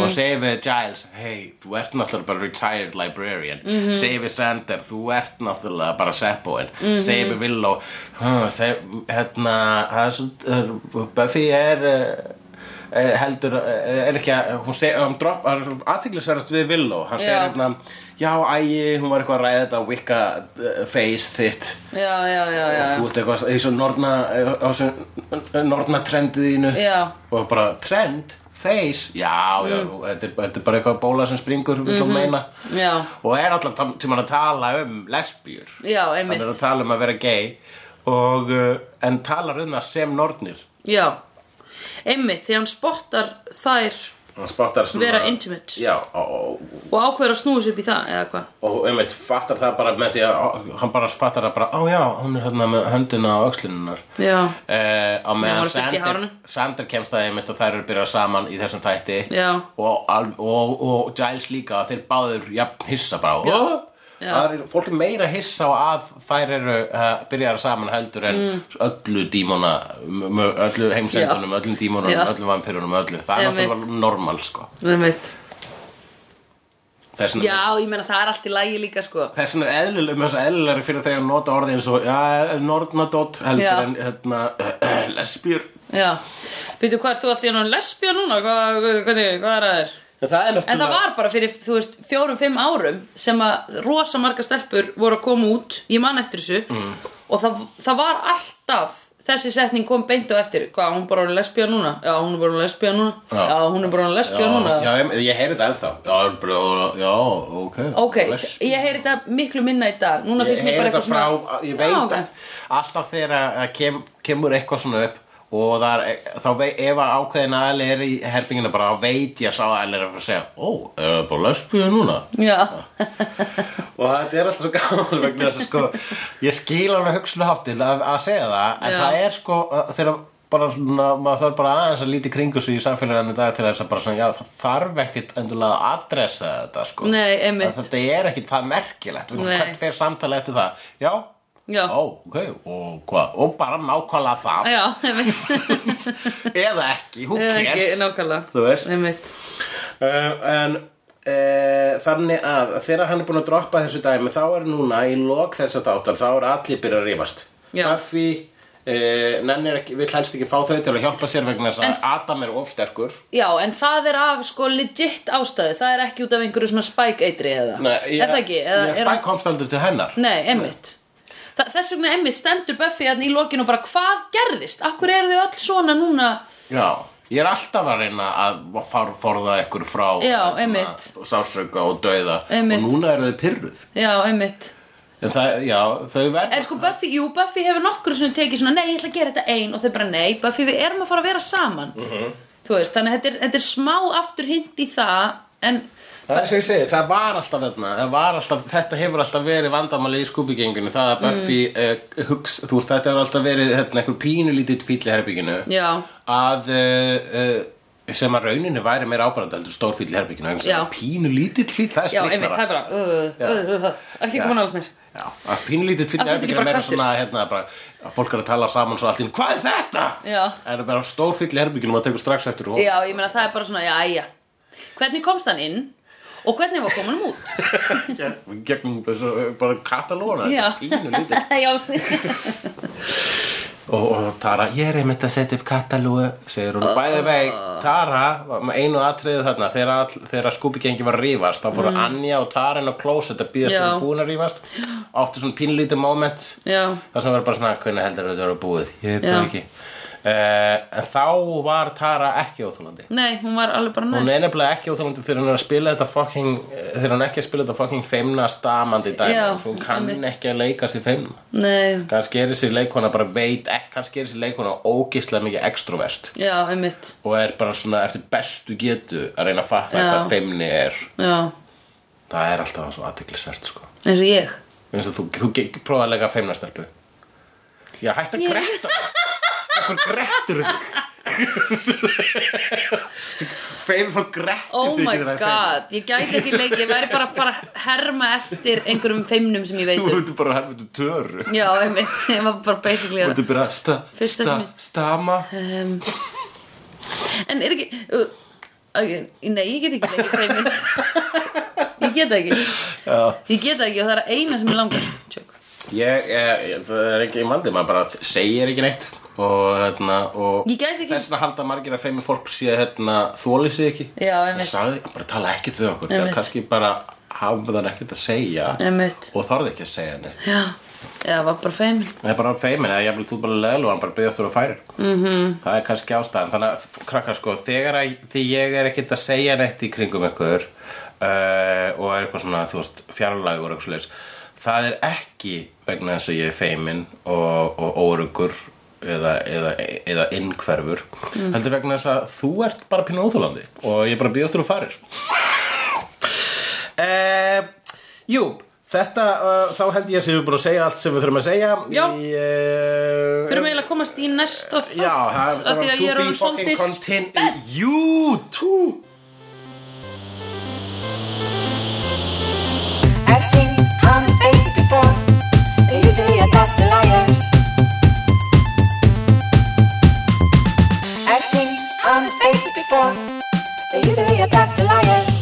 Speaker 2: og segir við Giles, hei, þú ert náttúrulega bara retired librarian, mm -hmm. segir við Sander, þú ert náttúrulega bara seppoinn, mm -hmm. segir við Willow, "Hm, þau- hérna, það er svo, er- Buffy er... eh, eh, heldur, eh, er ekki að hún segir, hann droppar, aðtiklisverðast við Willow hann
Speaker 1: Já.
Speaker 2: segir hérna, já, ægi hún var eitthvað að ræða þetta Wicca eh, face þitt
Speaker 1: Já, já, já, já,
Speaker 2: þú ert eitthvað í svo norna eh, á svo eh, norna trendið þínu
Speaker 1: Já. Mm.
Speaker 2: og bara trend, face já, já, þetta er, þetta er bara eitthvað bóla sem springur, vil
Speaker 1: Mhm.
Speaker 2: þú meina
Speaker 1: já,
Speaker 2: og er alltaf tímann að tala um lesbíur
Speaker 1: já,
Speaker 2: hann er
Speaker 1: einmitt
Speaker 2: að tala um að vera gay og, eh, en talar um það sem nornir
Speaker 1: Já, einmitt Þegar hann spottar þær
Speaker 2: hann spottar svona
Speaker 1: Vera intimate.
Speaker 2: já, og, og
Speaker 1: og ákveður að snúa sér upp í það eða hvað
Speaker 2: og einmitt fattar það bara með því að hann bara fattar það bara, á já, hún er hérna með höndina á öxlinunar
Speaker 1: Já,
Speaker 2: uh, á
Speaker 1: hún er
Speaker 2: meðan
Speaker 1: fyrst í
Speaker 2: Sander,
Speaker 1: hárinu.
Speaker 2: Sander kemst það einmitt og þær eru byrjað saman í þessum þætti
Speaker 1: Já.
Speaker 2: og, al- og, og Giles líka og þeir báður jafn hissa bara
Speaker 1: Já.
Speaker 2: "Hó?"
Speaker 1: Já.
Speaker 2: Það er, fólk er meira hissa á að þær eru uh, byrjar saman heldur en öllu dímona m- m- öllu heimsendunum,
Speaker 1: Mm. Já.
Speaker 2: öllum dímonunum
Speaker 1: Já.
Speaker 2: öllum vampirunum, öllu, það er
Speaker 1: Einmitt.
Speaker 2: náttúrulega normal sko,
Speaker 1: einmitt
Speaker 2: þess vegna
Speaker 1: Já, ég meina það er allt í lagi líka sko
Speaker 2: Þessin er eðlileg, með þess að eðlilegri fyrir þau að nota orðið eins og, já, nornadótt heldur
Speaker 1: Já.
Speaker 2: en, hérna, lesbjur.
Speaker 1: Já, byrju hvað ertu alltaf í hann lesbja núna? Hvað, hvernig, hvað er að þér?
Speaker 2: En það er
Speaker 1: En það
Speaker 2: náttúrulega,
Speaker 1: var bara fyrir, þú veist, fjórum, fimm árum sem að rosa marga stelpur voru að koma út, ég man eftir þessu
Speaker 2: Mm.
Speaker 1: og það, það var alltaf þessi setning kom beint á eftir hvað, hún er bara hún lesbía núna, já, hún er bara hún lesbía núna
Speaker 2: Já.
Speaker 1: já, hún er bara hún lesbía núna
Speaker 2: já, ég, ég heyri þetta ennþá. Já, bara, já, ok.
Speaker 1: ok,
Speaker 2: Les-
Speaker 1: ég heyri þetta miklu minna í dag núna
Speaker 2: Ég
Speaker 1: finnst mér
Speaker 2: heyri
Speaker 1: bara
Speaker 2: þetta
Speaker 1: eitthvað
Speaker 2: frá,
Speaker 1: svona
Speaker 2: ég veit
Speaker 1: já,
Speaker 2: að
Speaker 1: okay.
Speaker 2: alltaf þegar að kem, kemur eitthvað svona upp og það er, þá veit, ef að ákveðin aðli er í herpingina bara þá veit ég að sá aðli er að fara að segja, ó, er það bara lesbjur núna?
Speaker 1: já,
Speaker 2: og þetta er alltaf svo gaman vegna þess að sko, ég skil alveg hugslunaháttin að, að segja það en
Speaker 1: Já.
Speaker 2: það er sko uh, þegar bara svona, maður þarf bara aðeins að líti kringu sig í samfélaginu í dag til þess að bara svona, já, það þarf ekkit endulega að adressa þetta sko
Speaker 1: Nei, einmitt.
Speaker 2: Að þetta er ekkit það merkilegt
Speaker 1: Nei.
Speaker 2: hvert fer samtala eftir það, já
Speaker 1: Já.
Speaker 2: Ó, ok, og hvað, og bara nákvæmlega það
Speaker 1: já, ég veit
Speaker 2: eða ekki, who
Speaker 1: Eða
Speaker 2: cares
Speaker 1: ekki, nákvæmlega
Speaker 2: Þú veist.
Speaker 1: ég veit,
Speaker 2: Uh, en uh, þannig að þegar hann er búin að droppa þessu dæmi þá er núna í lok þessa dátar þá er allir byrjað að rífast
Speaker 1: Já.
Speaker 2: Buffy uh, nennir ekki, vill helst ekki fá þau til að hjálpa sér vegna þess að Adam er ofsterkur
Speaker 1: já, en það er af sko legit ástæðu, það er ekki út af einhverju svona spike eitri eða er það ekki, eða
Speaker 2: Ég
Speaker 1: er hann
Speaker 2: spæk komst aldrei til hennar
Speaker 1: Nei, einmitt Þa, Þess vegna einmitt stendur Buffy hann í lokinu og bara hvað gerðist? Akkur eru þau öll svona núna?
Speaker 2: Já, ég er alltaf að reyna að far, forða ykkur frá
Speaker 1: Já,
Speaker 2: hérna,
Speaker 1: einmitt.
Speaker 2: sásauka og dauða
Speaker 1: Einmitt.
Speaker 2: og núna eru þau pyrruð
Speaker 1: Já, einmitt
Speaker 2: en það, já, þau verða
Speaker 1: En sko Buffy, jú, Buffy hefur nokkru svona tekið svona Nei, ég ætla að gera þetta ein og þau bara nei Buffy, við erum að fara að vera saman
Speaker 2: Mhm.
Speaker 1: -hmm. Þú veist, þannig að þetta er, þetta er smá aftur hint í það En,
Speaker 2: Það er sem ég segi, það var alltaf þarna það var alltaf, Þetta hefur alltaf verið vandamáli í skúbigenginu Það að Buffy mm. hugs, þú veist, Þetta hefur alltaf verið hérna, einhver pínulítið fíll í herbygginu
Speaker 1: já,
Speaker 2: Að uh, uh, sem að rauninu væri meira ábærandi heldur stór fíll í herbygginu vegna þess
Speaker 1: Já.
Speaker 2: að Pínulítill fíll, það er
Speaker 1: já, einmitt, það
Speaker 2: splittara
Speaker 1: er bara uh,
Speaker 2: Já.
Speaker 1: uh, uh, uh, Ekki
Speaker 2: Já.
Speaker 1: komin alveg mér
Speaker 2: Já, að pínulítið fíll
Speaker 1: Af
Speaker 2: í
Speaker 1: hverju ekki
Speaker 2: herbygginu er
Speaker 1: bara
Speaker 2: meira
Speaker 1: köttur?
Speaker 2: svona hérna, bara, að fólk er að tala saman svo allt í einu, Hvað er þetta?
Speaker 1: Já.
Speaker 2: En bara stór fíll í herbygginu maður tekur strax eftir og
Speaker 1: Já, ég meina það er bara svona, já, já Hvernig komst hann inn og hvernig var komin hann út?
Speaker 2: gegnum þessu, bara katalóna
Speaker 1: Já.
Speaker 2: pínu lítið
Speaker 1: Já,
Speaker 2: og, og Tara, ég er einmitt að setja upp katalógu segir hún, bæði vei Tara, var með einu atriði þarna þegar, all- þegar skúbigengi var að rífast þá fóru Anja og Tara inn á klóset að býðast
Speaker 1: Mm. Já.
Speaker 2: um búin að rífast áttu svona pínlítið moment
Speaker 1: já,
Speaker 2: það sem var bara svona, hvernig heldur þetta eru búið ég veit
Speaker 1: Já.
Speaker 2: það ekki uh, en þá var Tara ekki óþólandi
Speaker 1: nei, hún var alveg bara
Speaker 2: hún
Speaker 1: næst
Speaker 2: er nefnilega ekki óþólandi þegar hún er að spila þetta fucking eh, þegar hún er ekki að spila þetta fucking feimna stamandi dæmi,
Speaker 1: Já,
Speaker 2: hún kann
Speaker 1: einmitt.
Speaker 2: ekki að leika sér feimna
Speaker 1: Nei,
Speaker 2: kannski er þessi leikona bara veit ekki, kannski er þessi leikona ógislega mikið extrovert
Speaker 1: já, einmitt
Speaker 2: og er bara svona eftir bestu getu að reyna að fatta
Speaker 1: Já.
Speaker 2: hvað feimni er
Speaker 1: Já,
Speaker 2: það er alltaf svo aðteglisvert sko
Speaker 1: eins og ég
Speaker 2: eins og þú, þú ge- prófaði að leika feimna stelpu já hætt að gretta okkur grettur feimni fólk grettist
Speaker 1: Oh
Speaker 2: ekki
Speaker 1: my
Speaker 2: þegar það er feimið.
Speaker 1: god, ég gæti ekki leik Ég væri bara að fara að herma eftir einhverjum feimnum sem ég veit
Speaker 2: þú
Speaker 1: um
Speaker 2: ertu bara herfiðu töru
Speaker 1: Já, einmitt, ég var bara basically
Speaker 2: þú
Speaker 1: að
Speaker 2: ertu bara að sta,
Speaker 1: Fyrsta
Speaker 2: sta,
Speaker 1: sem ég-
Speaker 2: stama
Speaker 1: um, En er ekki uh, ok, Nei, ég get ekki leikið feimin Ég get það ekki
Speaker 2: já
Speaker 1: Ég get það ekki og það er eina sem ég langar Tjók.
Speaker 2: Ég, ég, það er ekki í mandi, maður bara segir ekki neitt og, hérna, og
Speaker 1: Ég gæti ekki-
Speaker 2: þess að halda margir að feimi fólk sé hérna, þóli sig ekki
Speaker 1: Já,
Speaker 2: og
Speaker 1: einmitt.
Speaker 2: sagði, bara tala ekkert við okkur
Speaker 1: Einmitt.
Speaker 2: eða kannski bara hafa það ekkert að segja
Speaker 1: Einmitt
Speaker 2: og þorði ekki að segja neitt
Speaker 1: Já, já, var bara feimin
Speaker 2: það er bara feimin, eða jafnvel þú ert bara leðlu og hann bara byggði eftir að færir -hmm. það er kannski ástæðan, þannig að krakkar sko þegar að, því ég er ekkert að segja neitt í kringum ykkur uh, og er eitthvað svona, þú veist, fjarlægur og eitthvað svoleiðis, það er ekki vegna þess að ég er feimin og, og órugur eða, eða, eða innhverfur heldur vegna þess að þú ert bara pínu óþólandi og ég bara býð eftir að farir uh, Jú Þetta, uh, þá held ég að séum við búin að segja allt sem við þurfum að segja
Speaker 1: Já.
Speaker 2: í, uh,
Speaker 1: Þurfum eiginlega að komast í næsta þátt
Speaker 2: Já,
Speaker 1: af
Speaker 2: það það
Speaker 1: því
Speaker 2: var
Speaker 1: að ég er
Speaker 2: to be
Speaker 1: orðin
Speaker 2: fucking
Speaker 1: svolítið
Speaker 2: continue You too
Speaker 3: I've seen honest faces before. They're usually a pass to liars. I've seen honest faces before. They're usually a pass to liars.